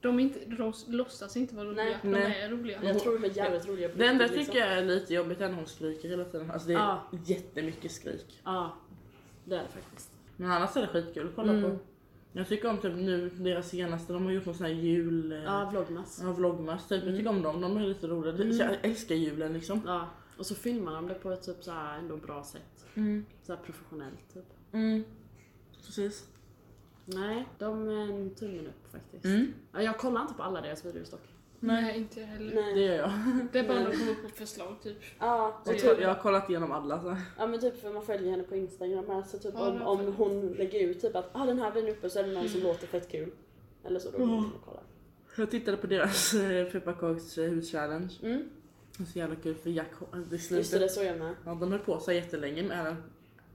[SPEAKER 3] de, är inte, de låtsas inte vara roliga,
[SPEAKER 1] Nej.
[SPEAKER 3] de
[SPEAKER 2] Nej.
[SPEAKER 3] är roliga.
[SPEAKER 1] Jag tror de är jävligt roliga på
[SPEAKER 2] Det enda jag
[SPEAKER 1] riktigt,
[SPEAKER 2] tycker är lite jobbigt är när hon skriker hela tiden. Alltså det är
[SPEAKER 1] Ja.
[SPEAKER 2] jättemycket skrik.
[SPEAKER 1] Ja, det är det faktiskt.
[SPEAKER 2] Men annars är det skitkul att kolla
[SPEAKER 1] Mm.
[SPEAKER 2] på. Jag tycker om typ nu deras senaste, de har gjort någon sån här jul... eh,
[SPEAKER 1] Ja, vlogmas.
[SPEAKER 2] Ja, vlogmas typ. Jag tycker om dem, de är lite roliga. Det-
[SPEAKER 1] Mm.
[SPEAKER 2] Jag älskar julen liksom.
[SPEAKER 1] Ja. Och så filmar de det på ett typ så här ändå bra sätt. Så här professionellt typ.
[SPEAKER 2] Mm. Precis.
[SPEAKER 1] eh,
[SPEAKER 2] Mm.
[SPEAKER 1] Nej, de är en tummen upp faktiskt. Ja, jag kollar inte på alla deras videos dock.
[SPEAKER 3] Nej.
[SPEAKER 2] Nej.
[SPEAKER 3] inte jag heller.
[SPEAKER 1] Nej.
[SPEAKER 2] Det gör jag.
[SPEAKER 3] Det är bara
[SPEAKER 1] Nej.
[SPEAKER 3] när de kommer på förslag typ.
[SPEAKER 1] Ja,
[SPEAKER 3] Så
[SPEAKER 1] och
[SPEAKER 2] Jag,
[SPEAKER 1] typ,
[SPEAKER 2] tror- jag har kollat igenom alla. Så. här.
[SPEAKER 1] ja men typ för man följer henne på Instagram här, så typ
[SPEAKER 3] Ja,
[SPEAKER 1] om,
[SPEAKER 3] det
[SPEAKER 1] om
[SPEAKER 3] följer.
[SPEAKER 1] hon lägger ut typ att ah, den här blir uppe så är det någon som
[SPEAKER 3] Mm.
[SPEAKER 1] låter fett kul. Eller så då
[SPEAKER 2] Ja.
[SPEAKER 1] går man och kollar.
[SPEAKER 2] Jag tittade på deras eh, pepparkakshus-challenge.
[SPEAKER 1] Mm.
[SPEAKER 2] Det är så jävla kul för Jack eh, i
[SPEAKER 1] Just det,
[SPEAKER 2] slutet.
[SPEAKER 1] det såg jag med.
[SPEAKER 2] Ja, de höll på så här jättelänge med den.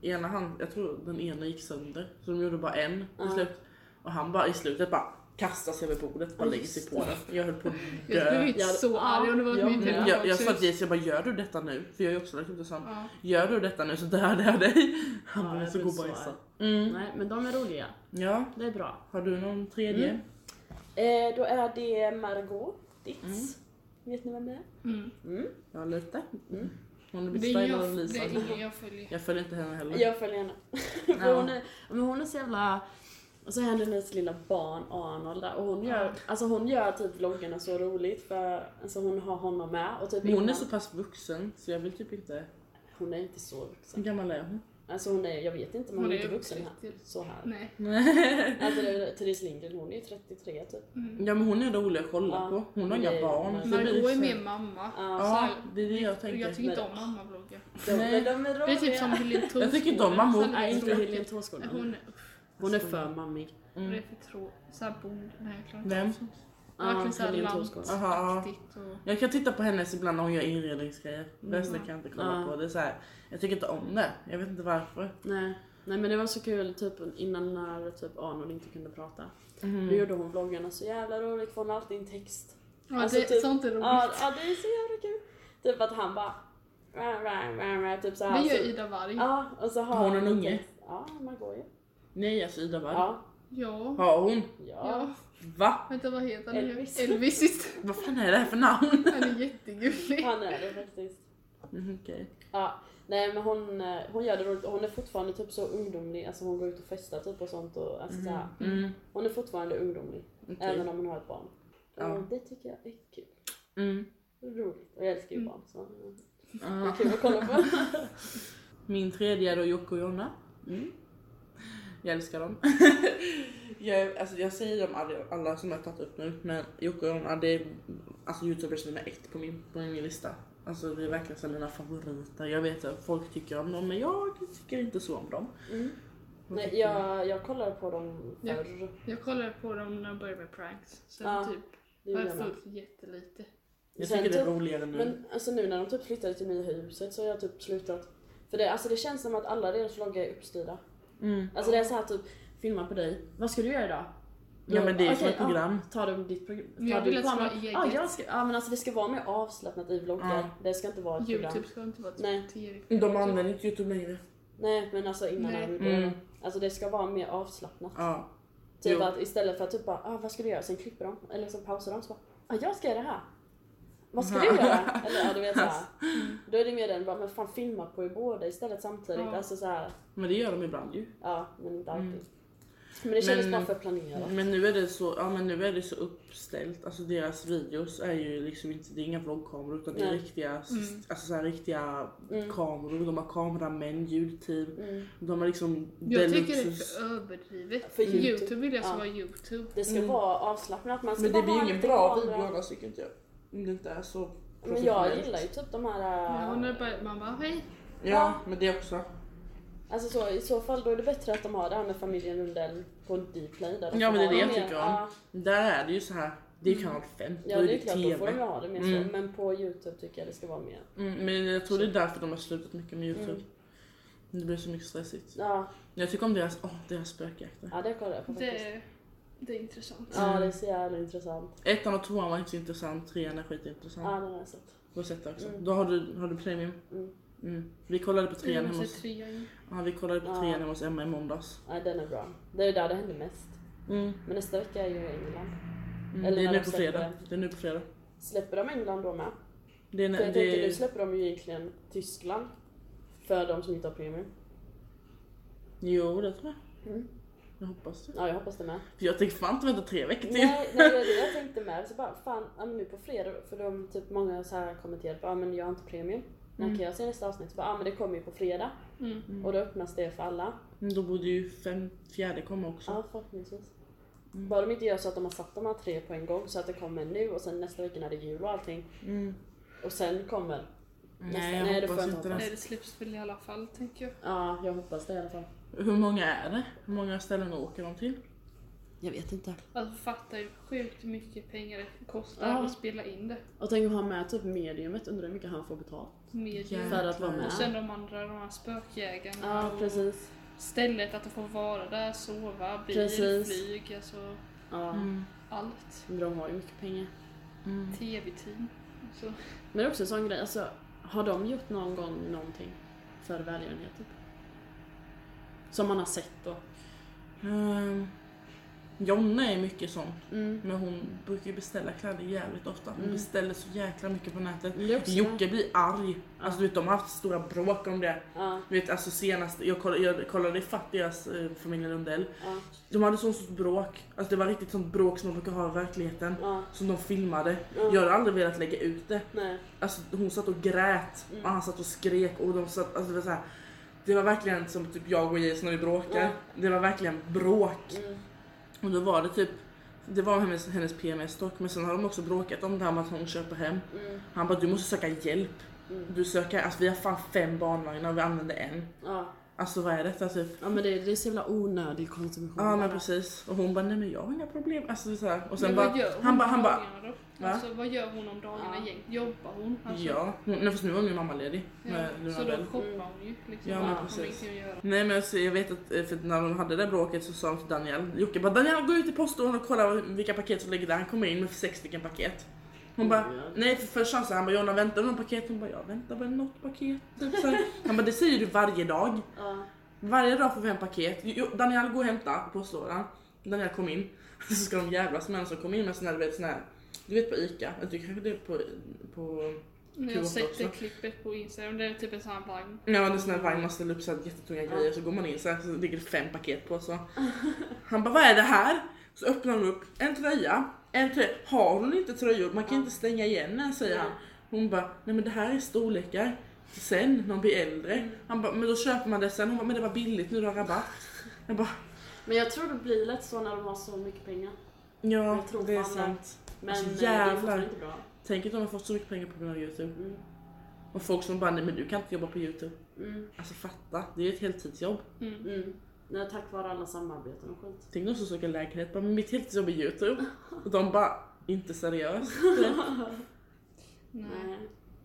[SPEAKER 2] Ena hand, jag tror den ena gick sönder. Så de gjorde bara en
[SPEAKER 1] Ja.
[SPEAKER 2] till slut. Och han bara i slutet bara kastar sig över bordet bara
[SPEAKER 1] Ja,
[SPEAKER 2] lägger
[SPEAKER 1] just
[SPEAKER 2] sig på den. Jag höll på att
[SPEAKER 3] Jag skulle
[SPEAKER 2] dö.
[SPEAKER 3] blivit så
[SPEAKER 1] Ja,
[SPEAKER 3] arg om det var
[SPEAKER 1] ja,
[SPEAKER 3] mitt
[SPEAKER 1] men-
[SPEAKER 2] Jag, jag, jag sa till
[SPEAKER 3] pepparkakshus.
[SPEAKER 2] Jesse, jag bara gör du detta nu? För jag är ju också lagt upp det sånt.
[SPEAKER 3] Ja.
[SPEAKER 2] Gör du detta nu så dödar jag dig. Han
[SPEAKER 1] Ja,
[SPEAKER 2] bara,
[SPEAKER 1] jag
[SPEAKER 2] så
[SPEAKER 1] blir
[SPEAKER 2] god
[SPEAKER 1] så
[SPEAKER 2] bajsa.
[SPEAKER 1] arg.
[SPEAKER 2] Mm.
[SPEAKER 1] Nej, men de är roliga.
[SPEAKER 2] Ja,
[SPEAKER 1] Det är bra.
[SPEAKER 2] har du någon tredje?
[SPEAKER 1] Mm. Eh, då är det Margot Ditz. Vet ni vem det är?
[SPEAKER 3] Mm.
[SPEAKER 1] Mm.
[SPEAKER 2] Ja, lite.
[SPEAKER 1] Mm.
[SPEAKER 2] Hon är
[SPEAKER 3] Det,
[SPEAKER 2] bestylad
[SPEAKER 3] är
[SPEAKER 2] av
[SPEAKER 3] jag,
[SPEAKER 2] Lisa.
[SPEAKER 3] det är ingen jag följer.
[SPEAKER 2] Jag följer inte henne heller.
[SPEAKER 1] Jag följer henne. För
[SPEAKER 2] Ja.
[SPEAKER 1] hon, är, men hon är så jävla... Och så är hennes lilla barn Arnold där och hon gör,
[SPEAKER 3] Ja.
[SPEAKER 1] alltså hon gör typ vloggarna så roligt för alltså hon har honom med och typ
[SPEAKER 2] Men hon är
[SPEAKER 1] innan-
[SPEAKER 2] så pass vuxen så jag vill typ inte...
[SPEAKER 1] hon är inte så
[SPEAKER 2] Hur
[SPEAKER 1] vuxen.
[SPEAKER 2] gammal är hon?
[SPEAKER 1] Alltså hon är, jag vet inte men
[SPEAKER 3] Hon
[SPEAKER 1] hon är
[SPEAKER 3] är
[SPEAKER 1] inte vuxen här.
[SPEAKER 3] 30.
[SPEAKER 1] Så här.
[SPEAKER 3] Nej.
[SPEAKER 1] Alltså det är Therese Lindgren, hon är ju 33 typ.
[SPEAKER 3] Mm.
[SPEAKER 2] Ja men hon är rolig att kolla
[SPEAKER 1] Ja.
[SPEAKER 2] på. Hon har
[SPEAKER 1] Nej,
[SPEAKER 2] inga barn.
[SPEAKER 1] nej.
[SPEAKER 2] så det blir
[SPEAKER 3] Margot är
[SPEAKER 2] så-
[SPEAKER 3] mer mamma.
[SPEAKER 1] Ja,
[SPEAKER 3] Så
[SPEAKER 2] Ja,
[SPEAKER 3] här-
[SPEAKER 2] det är det jag
[SPEAKER 3] och
[SPEAKER 2] tänker.
[SPEAKER 3] jag tycker inte om mammabloggar.
[SPEAKER 1] De,
[SPEAKER 2] Nej.
[SPEAKER 1] men de är roliga.
[SPEAKER 3] Det är typ som Helene Thorskogen.
[SPEAKER 2] Jag tycker inte om mammor.
[SPEAKER 3] Sen är
[SPEAKER 1] Nej,
[SPEAKER 3] det
[SPEAKER 1] inte
[SPEAKER 3] tråkigt.
[SPEAKER 1] Helene
[SPEAKER 3] Hon,
[SPEAKER 1] Tårsgården.
[SPEAKER 3] usch,
[SPEAKER 1] Hon är för mammig.
[SPEAKER 3] det är
[SPEAKER 2] Mm.
[SPEAKER 3] för tråkigt. Såhär bord. Nej, jag klarar inte
[SPEAKER 2] Vem?
[SPEAKER 1] Ja,
[SPEAKER 3] Verkligen såhär
[SPEAKER 1] Helene Thorskog.
[SPEAKER 2] Aha.
[SPEAKER 3] lantaktigt och...
[SPEAKER 2] Jag kan titta på hennes ibland när hon gör inredningsgrejer. Resten kan jag inte kolla
[SPEAKER 1] Ja.
[SPEAKER 2] på. Det är så här, jag tycker inte om det. Jag vet inte varför.
[SPEAKER 1] Nej. Nej men det var så kul typ innan när typ Arnold inte kunde prata. Då gjorde hon vloggarna så jävla roligt för hon har alltid en text.
[SPEAKER 3] Ja,
[SPEAKER 1] Alltså,
[SPEAKER 3] det,
[SPEAKER 1] typ-
[SPEAKER 3] sånt är roligt.
[SPEAKER 1] Ja, ja det är så jävla kul. Typ att han bara... "Rah, rah, rah, rah", Typ så här.
[SPEAKER 3] det gör
[SPEAKER 1] så-
[SPEAKER 3] Ida Warg.
[SPEAKER 1] Ja, och så har
[SPEAKER 2] Har hon en
[SPEAKER 1] han-
[SPEAKER 2] unge?
[SPEAKER 1] Ja, man går ju.
[SPEAKER 2] Nej alltså Ida Warg.
[SPEAKER 1] Ja.
[SPEAKER 3] Ja.
[SPEAKER 2] Har hon?
[SPEAKER 1] ja.
[SPEAKER 3] Ja.
[SPEAKER 2] Va?
[SPEAKER 3] Vänta, vad heter han?
[SPEAKER 1] Elvis.
[SPEAKER 3] Elvis. just.
[SPEAKER 2] Vad fan är det här för namn?
[SPEAKER 3] Han är jättegullig.
[SPEAKER 1] Han är det faktiskt.
[SPEAKER 2] Mm, Okej.
[SPEAKER 1] Ja. Nej men hon, eh, hon gör det roligt och hon är fortfarande typ så ungdomlig. Alltså hon går ut och festar typ och sånt och alltså så här.
[SPEAKER 2] Mm,
[SPEAKER 1] Hon är fortfarande ungdomlig.
[SPEAKER 2] okej.
[SPEAKER 1] Även om hon har ett barn.
[SPEAKER 2] Ja.
[SPEAKER 1] Och det tycker jag är kul.
[SPEAKER 2] Mm.
[SPEAKER 1] Roligt. Och jag älskar ju
[SPEAKER 3] Mm.
[SPEAKER 1] barn så mm, det
[SPEAKER 2] Ja.
[SPEAKER 1] är kul att kolla på.
[SPEAKER 2] Min tredje är då Jocke och Jonna.
[SPEAKER 1] Mm.
[SPEAKER 2] Jag älskar dem. jag, alltså jag säger dem alla, alla som jag har tagit upp nu, men Jocke och Jonna det är alltså youtubers nummer ett på min, på min lista. Alltså det är verkligen så här mina favoriter. Jag vet att folk tycker om dem men jag tycker inte så om dem.
[SPEAKER 1] Mm.
[SPEAKER 2] Vad
[SPEAKER 1] Nej,
[SPEAKER 2] tycker ni?
[SPEAKER 1] jag, jag kollade på dem
[SPEAKER 3] Ja.
[SPEAKER 1] förr.
[SPEAKER 3] Jag kollade på dem när jag började med pranks. Sen
[SPEAKER 1] Ja,
[SPEAKER 3] typ
[SPEAKER 1] Det
[SPEAKER 3] har
[SPEAKER 1] gjorde
[SPEAKER 3] jag
[SPEAKER 1] jag med.
[SPEAKER 3] följt jättelite.
[SPEAKER 2] jag
[SPEAKER 1] sen
[SPEAKER 2] tycker det är
[SPEAKER 1] typ-
[SPEAKER 2] roligare nu.
[SPEAKER 1] Men alltså nu när de typ flyttade till nya huset så har jag typ slutat. För det, alltså det känns som att alla deras vloggar är uppstyrda.
[SPEAKER 2] Mm.
[SPEAKER 1] Alltså det är så här typ, filma på dig. Vad ska du göra idag?
[SPEAKER 2] Ja men det är som
[SPEAKER 1] Okej,
[SPEAKER 2] ett program.
[SPEAKER 1] Ja, tar du ditt program?
[SPEAKER 3] Men jag
[SPEAKER 1] tar
[SPEAKER 3] vill
[SPEAKER 1] du
[SPEAKER 3] att det ska
[SPEAKER 1] kameran?
[SPEAKER 3] vara
[SPEAKER 1] Ja,
[SPEAKER 3] eget.
[SPEAKER 1] jag ska, ja men alltså det ska vara mer avslappnat i vloggar.
[SPEAKER 2] Ja.
[SPEAKER 1] Det ska inte vara ett program.
[SPEAKER 3] Youtube ska inte vara typ
[SPEAKER 1] Nej.
[SPEAKER 3] ett tv
[SPEAKER 2] De använder inte youtube längre.
[SPEAKER 1] Nej men alltså innan
[SPEAKER 3] Nej.
[SPEAKER 1] han gjorde
[SPEAKER 2] Mm.
[SPEAKER 1] det. Alltså det ska vara mer avslappnat.
[SPEAKER 2] Ja.
[SPEAKER 1] Typ
[SPEAKER 2] Jo.
[SPEAKER 1] att istället för att typ bara, ah, vad ska du göra? Sen klipper de, eller så pausar de så bara, ah, jag ska göra det här. Vad ska du
[SPEAKER 2] Ja.
[SPEAKER 1] göra? Eller ja, du vet såhär. Då är det mer den bara, men fan filma på er båda istället samtidigt.
[SPEAKER 3] Ja.
[SPEAKER 1] Alltså såhär,
[SPEAKER 2] Men det gör de ibland ju.
[SPEAKER 1] ja men inte alltid.
[SPEAKER 2] Mm.
[SPEAKER 1] Men det kändes
[SPEAKER 2] Men- Mm.
[SPEAKER 1] bara för planerat.
[SPEAKER 2] Men nu är det så, ja men nu är det så uppställt. Alltså deras videos är ju liksom inte, det är inga vloggkameror utan det är
[SPEAKER 1] Nej.
[SPEAKER 2] riktiga,
[SPEAKER 3] Mm.
[SPEAKER 2] alltså så här, riktiga
[SPEAKER 1] Mm.
[SPEAKER 2] kameror. De har kameramän, ljudteam.
[SPEAKER 1] Mm.
[SPEAKER 2] De har liksom
[SPEAKER 3] Jag tycker det är
[SPEAKER 2] deluxe-
[SPEAKER 3] för överdrivet.
[SPEAKER 1] För
[SPEAKER 3] YouTube,
[SPEAKER 1] YouTube.
[SPEAKER 3] vill jag ska
[SPEAKER 1] Ja.
[SPEAKER 3] vara YouTube.
[SPEAKER 1] Det ska
[SPEAKER 2] Mm.
[SPEAKER 1] vara avslappnat.
[SPEAKER 3] Alltså,
[SPEAKER 1] Man ska
[SPEAKER 2] Men det
[SPEAKER 1] bara
[SPEAKER 2] blir
[SPEAKER 1] ha
[SPEAKER 2] ju ingen
[SPEAKER 1] lite
[SPEAKER 2] bra
[SPEAKER 1] kamera.
[SPEAKER 2] video annars tycker inte jag. Om det inte är så
[SPEAKER 1] Men jag
[SPEAKER 2] professionellt.
[SPEAKER 1] gillar ju typ de här...
[SPEAKER 3] Ja,
[SPEAKER 1] äh,
[SPEAKER 3] och när bara, man bara hej.
[SPEAKER 2] Ja men det också.
[SPEAKER 1] Alltså så, i så fall då är det bättre att de har det här med familjen Lundell på Dplay. Där de
[SPEAKER 2] Ja, men
[SPEAKER 1] får
[SPEAKER 2] det är
[SPEAKER 1] ha
[SPEAKER 2] det jag
[SPEAKER 1] mer-
[SPEAKER 2] tycker om.
[SPEAKER 1] ja.
[SPEAKER 2] Där är det ju så här. det
[SPEAKER 3] Mm.
[SPEAKER 2] är ju kanal 5,
[SPEAKER 1] Ja
[SPEAKER 2] då är
[SPEAKER 1] det är klart, då får de ju
[SPEAKER 2] TV.
[SPEAKER 1] ha det mer så.
[SPEAKER 2] Mm.
[SPEAKER 1] Men på Youtube tycker jag det ska vara mer.
[SPEAKER 2] Mm, men jag tror det är därför de har slutat mycket med Youtube.
[SPEAKER 1] Mm.
[SPEAKER 2] Det blir så mycket stressigt.
[SPEAKER 1] Ja,
[SPEAKER 2] Jag tycker om deras, åh deras spökjakter.
[SPEAKER 1] ja det kollar jag på faktiskt.
[SPEAKER 3] Det, det är intressant.
[SPEAKER 1] Ja det är så jävla intressant.
[SPEAKER 2] Ettan och tvåan var inte så intressant, trean är skitintressant.
[SPEAKER 1] Ja den har jag sett.
[SPEAKER 2] Du har sett det också.
[SPEAKER 1] Mm.
[SPEAKER 2] Då har du, har du premium.
[SPEAKER 1] Mm.
[SPEAKER 2] Mm. Vi kollade på trean
[SPEAKER 3] Jag
[SPEAKER 2] hemma
[SPEAKER 3] måste
[SPEAKER 2] hos,
[SPEAKER 3] trea in.
[SPEAKER 2] ja, vi kollade på
[SPEAKER 1] Ja.
[SPEAKER 2] trean hemma hos Emma i måndags.
[SPEAKER 1] Ja den är bra. Det är där det händer mest.
[SPEAKER 2] Mm.
[SPEAKER 1] Men nästa vecka är ju England.
[SPEAKER 2] Mm.
[SPEAKER 1] Eller
[SPEAKER 2] Det är
[SPEAKER 1] när
[SPEAKER 2] nu
[SPEAKER 1] de
[SPEAKER 2] på
[SPEAKER 1] släpper
[SPEAKER 2] fredag.
[SPEAKER 1] den.
[SPEAKER 2] Det är nu på fredag.
[SPEAKER 1] Släpper de England då med?
[SPEAKER 2] Det är,
[SPEAKER 1] För
[SPEAKER 2] när-
[SPEAKER 1] jag tänker
[SPEAKER 2] det
[SPEAKER 1] nu
[SPEAKER 2] är,
[SPEAKER 1] släpper de ju egentligen Tyskland. För de som inte har premium.
[SPEAKER 2] jo det tror jag.
[SPEAKER 1] Mm.
[SPEAKER 2] Jag hoppas det.
[SPEAKER 1] Ja jag hoppas det med.
[SPEAKER 2] För jag tänker fan inte vänta tre veckor till.
[SPEAKER 1] Nej, nej det är det jag tänkte med. Så bara, fan, ja, men nu på fredag, för de typ många så här kommenterat ja men jag har inte premium. När
[SPEAKER 2] Mm.
[SPEAKER 1] kan jag se nästa avsnitt? Så bara, ja men det kommer ju på fredag.
[SPEAKER 3] Mm.
[SPEAKER 1] Och då öppnas det för alla.
[SPEAKER 2] Men Då borde ju fem, fjärde komma också.
[SPEAKER 1] Ja förhoppningsvis. Bara de inte gör så att de har satt de här tre på en gång så att det kommer nu och sen nästa vecka när det är jul och allting
[SPEAKER 2] Mm.
[SPEAKER 1] och sen kommer.
[SPEAKER 4] Nej, jag
[SPEAKER 1] Nej, det får
[SPEAKER 4] hoppas
[SPEAKER 1] jag
[SPEAKER 4] inte
[SPEAKER 1] inte
[SPEAKER 4] det.
[SPEAKER 3] Nej, det släpps väl i alla fall tänker jag.
[SPEAKER 1] Ja, jag hoppas det i alla fall.
[SPEAKER 2] Hur många är det? Hur många ställen åker de till?
[SPEAKER 1] Jag vet inte.
[SPEAKER 3] Alltså fatta hur sjukt mycket pengar det kostar
[SPEAKER 1] Ja.
[SPEAKER 3] att spela in det.
[SPEAKER 1] Och tänk om han med typ mediumet, undrar hur mycket han får betalt.
[SPEAKER 3] Med
[SPEAKER 2] Jävlar.
[SPEAKER 1] För att vara med.
[SPEAKER 3] Och sen de andra, de här spökjägarna.
[SPEAKER 1] Ja
[SPEAKER 3] och
[SPEAKER 1] precis.
[SPEAKER 3] Stället att de får vara där, sova, bil,
[SPEAKER 1] Precis.
[SPEAKER 3] flyg, alltså
[SPEAKER 1] Ja.
[SPEAKER 2] Mm.
[SPEAKER 3] allt.
[SPEAKER 1] Men de har ju mycket pengar.
[SPEAKER 2] Mm.
[SPEAKER 3] Tv-team. Så.
[SPEAKER 1] Men det är också en sån grej, alltså har de gjort någon gång någonting för välgörenhet typ? Som man har sett då?
[SPEAKER 2] Ehm, Jonna är mycket sån.
[SPEAKER 1] Mm.
[SPEAKER 2] Men hon brukar ju beställa kläder jävligt ofta. Hon
[SPEAKER 1] Mm.
[SPEAKER 2] beställer så jäkla mycket på nätet.
[SPEAKER 1] Men det är också-
[SPEAKER 2] Jocke blir arg. Alltså du vet, de har haft stora bråk om det.
[SPEAKER 1] Ja,
[SPEAKER 2] Du vet, alltså senast, jag kollade, jag kollade ifatt deras eh, familj Lundell.
[SPEAKER 1] ja,
[SPEAKER 2] De hade sånt stort bråk. Alltså det var riktigt sånt bråk som de brukar ha i verkligheten.
[SPEAKER 1] ja.
[SPEAKER 2] Som de filmade.
[SPEAKER 1] Ja.
[SPEAKER 2] Jag hade aldrig velat lägga ut det.
[SPEAKER 1] Nej.
[SPEAKER 2] Alltså hon satt och grät
[SPEAKER 1] Mm.
[SPEAKER 2] och han satt och skrek och de satt, alltså det var så här. Det var verkligen som typ jag och Jason när vi bråkar.
[SPEAKER 1] Ja.
[SPEAKER 2] Det var verkligen bråk.
[SPEAKER 1] Mm.
[SPEAKER 2] Och då var det typ, det var hennes, hennes PMS-dock men sen har de också bråkat om det här med att hon köper hem.
[SPEAKER 1] Mm.
[SPEAKER 2] Han bara du måste söka hjälp.
[SPEAKER 1] Mm.
[SPEAKER 2] Du söker, alltså vi har fan fem barnvagnar och vi använder en.
[SPEAKER 1] Ja.
[SPEAKER 2] Alltså vad är detta typ?
[SPEAKER 1] ja, men det, det är så jävla onödig konsumtion.
[SPEAKER 2] Ja men
[SPEAKER 1] bara.
[SPEAKER 2] precis. Och hon bara nej men jag har inga problem. Alltså så här. Och sen
[SPEAKER 3] Mm.
[SPEAKER 2] bara,
[SPEAKER 3] Men vad gör hon
[SPEAKER 2] han
[SPEAKER 3] om
[SPEAKER 2] bara, han bara,
[SPEAKER 3] dagarna då?
[SPEAKER 2] Va?
[SPEAKER 3] Alltså vad gör hon om dagarna
[SPEAKER 1] Ja.
[SPEAKER 3] egentligen? Jobbar hon? Alltså,
[SPEAKER 2] ja. Hon, nej fast nu är hon ju mammaledig
[SPEAKER 3] ja.
[SPEAKER 2] med Luna
[SPEAKER 3] Så
[SPEAKER 2] Bell.
[SPEAKER 3] då shoppar hon ju liksom.
[SPEAKER 2] Ja,
[SPEAKER 3] bara,
[SPEAKER 2] men
[SPEAKER 3] hon
[SPEAKER 2] precis.
[SPEAKER 3] ingenting att göra.
[SPEAKER 2] Nej men alltså, jag vet att eh, för att när de hade det där bråket så sa de till Daniel, Jocke bara Daniel gå ut i postorn och kolla vilka paket som ligger där. Han kommer in med sex stycken paket. Hon bara
[SPEAKER 1] Mm, ja.
[SPEAKER 2] nej för först sa han så här, han bara Jonna väntar du något paket? Hon bara jag väntar väl något paket. Typ så här. han bara det säger du varje dag.
[SPEAKER 1] Ja.
[SPEAKER 2] Varje dag får vi hem paket. Jo, Daniel gå och hämta på postlådan. Daniel kom in. Så ska de jävlas med en som kom in med sån här du vet sån här du vet på ICA, jag tycker kanske det är på, på
[SPEAKER 3] När
[SPEAKER 2] Kul
[SPEAKER 3] jag
[SPEAKER 2] också.
[SPEAKER 3] sett det klippet på Instagram, det är typ en sån här vagn.
[SPEAKER 2] Ja, det är sån här vagn man ställer upp så här jättetunga
[SPEAKER 1] Ja.
[SPEAKER 2] grejer så går man in så här så ligger det fem paket på så. Han bara vad är det här? Så öppnar hon upp en tröja, en tröja. Har hon inte tröjor? Man kan
[SPEAKER 1] Ja.
[SPEAKER 2] inte stänga igen den säger
[SPEAKER 1] Nej.
[SPEAKER 2] han. Hon bara nej men det här är storlekar. Sen när de blir
[SPEAKER 1] Mm.
[SPEAKER 2] äldre. Han bara men då köper man det sen. Hon bara men det var billigt nu du har rabatt. Jag bara
[SPEAKER 1] Men jag tror det blir lätt så när de har så mycket pengar.
[SPEAKER 2] ja
[SPEAKER 1] Jag tror
[SPEAKER 2] det är
[SPEAKER 1] fan det.
[SPEAKER 2] sant.
[SPEAKER 1] Men
[SPEAKER 2] Alltså,
[SPEAKER 1] eh, det är
[SPEAKER 2] jävlar.
[SPEAKER 1] fortfarande inte bra.
[SPEAKER 2] Tänk att de har fått så mycket pengar på grund av youtube.
[SPEAKER 1] Mm.
[SPEAKER 2] Och folk som bara nej men du kan inte jobba på youtube.
[SPEAKER 1] Mm.
[SPEAKER 2] Alltså fatta, det är ju ett heltidsjobb.
[SPEAKER 3] Mm.
[SPEAKER 1] Mm. Nej, tack vare alla samarbeten och skit.
[SPEAKER 2] Tänk någon som söker lägenhet, bara mitt heltidsjobb är youtube. Och de bara, inte seriöst. Mm.
[SPEAKER 3] Nej.
[SPEAKER 1] Nej.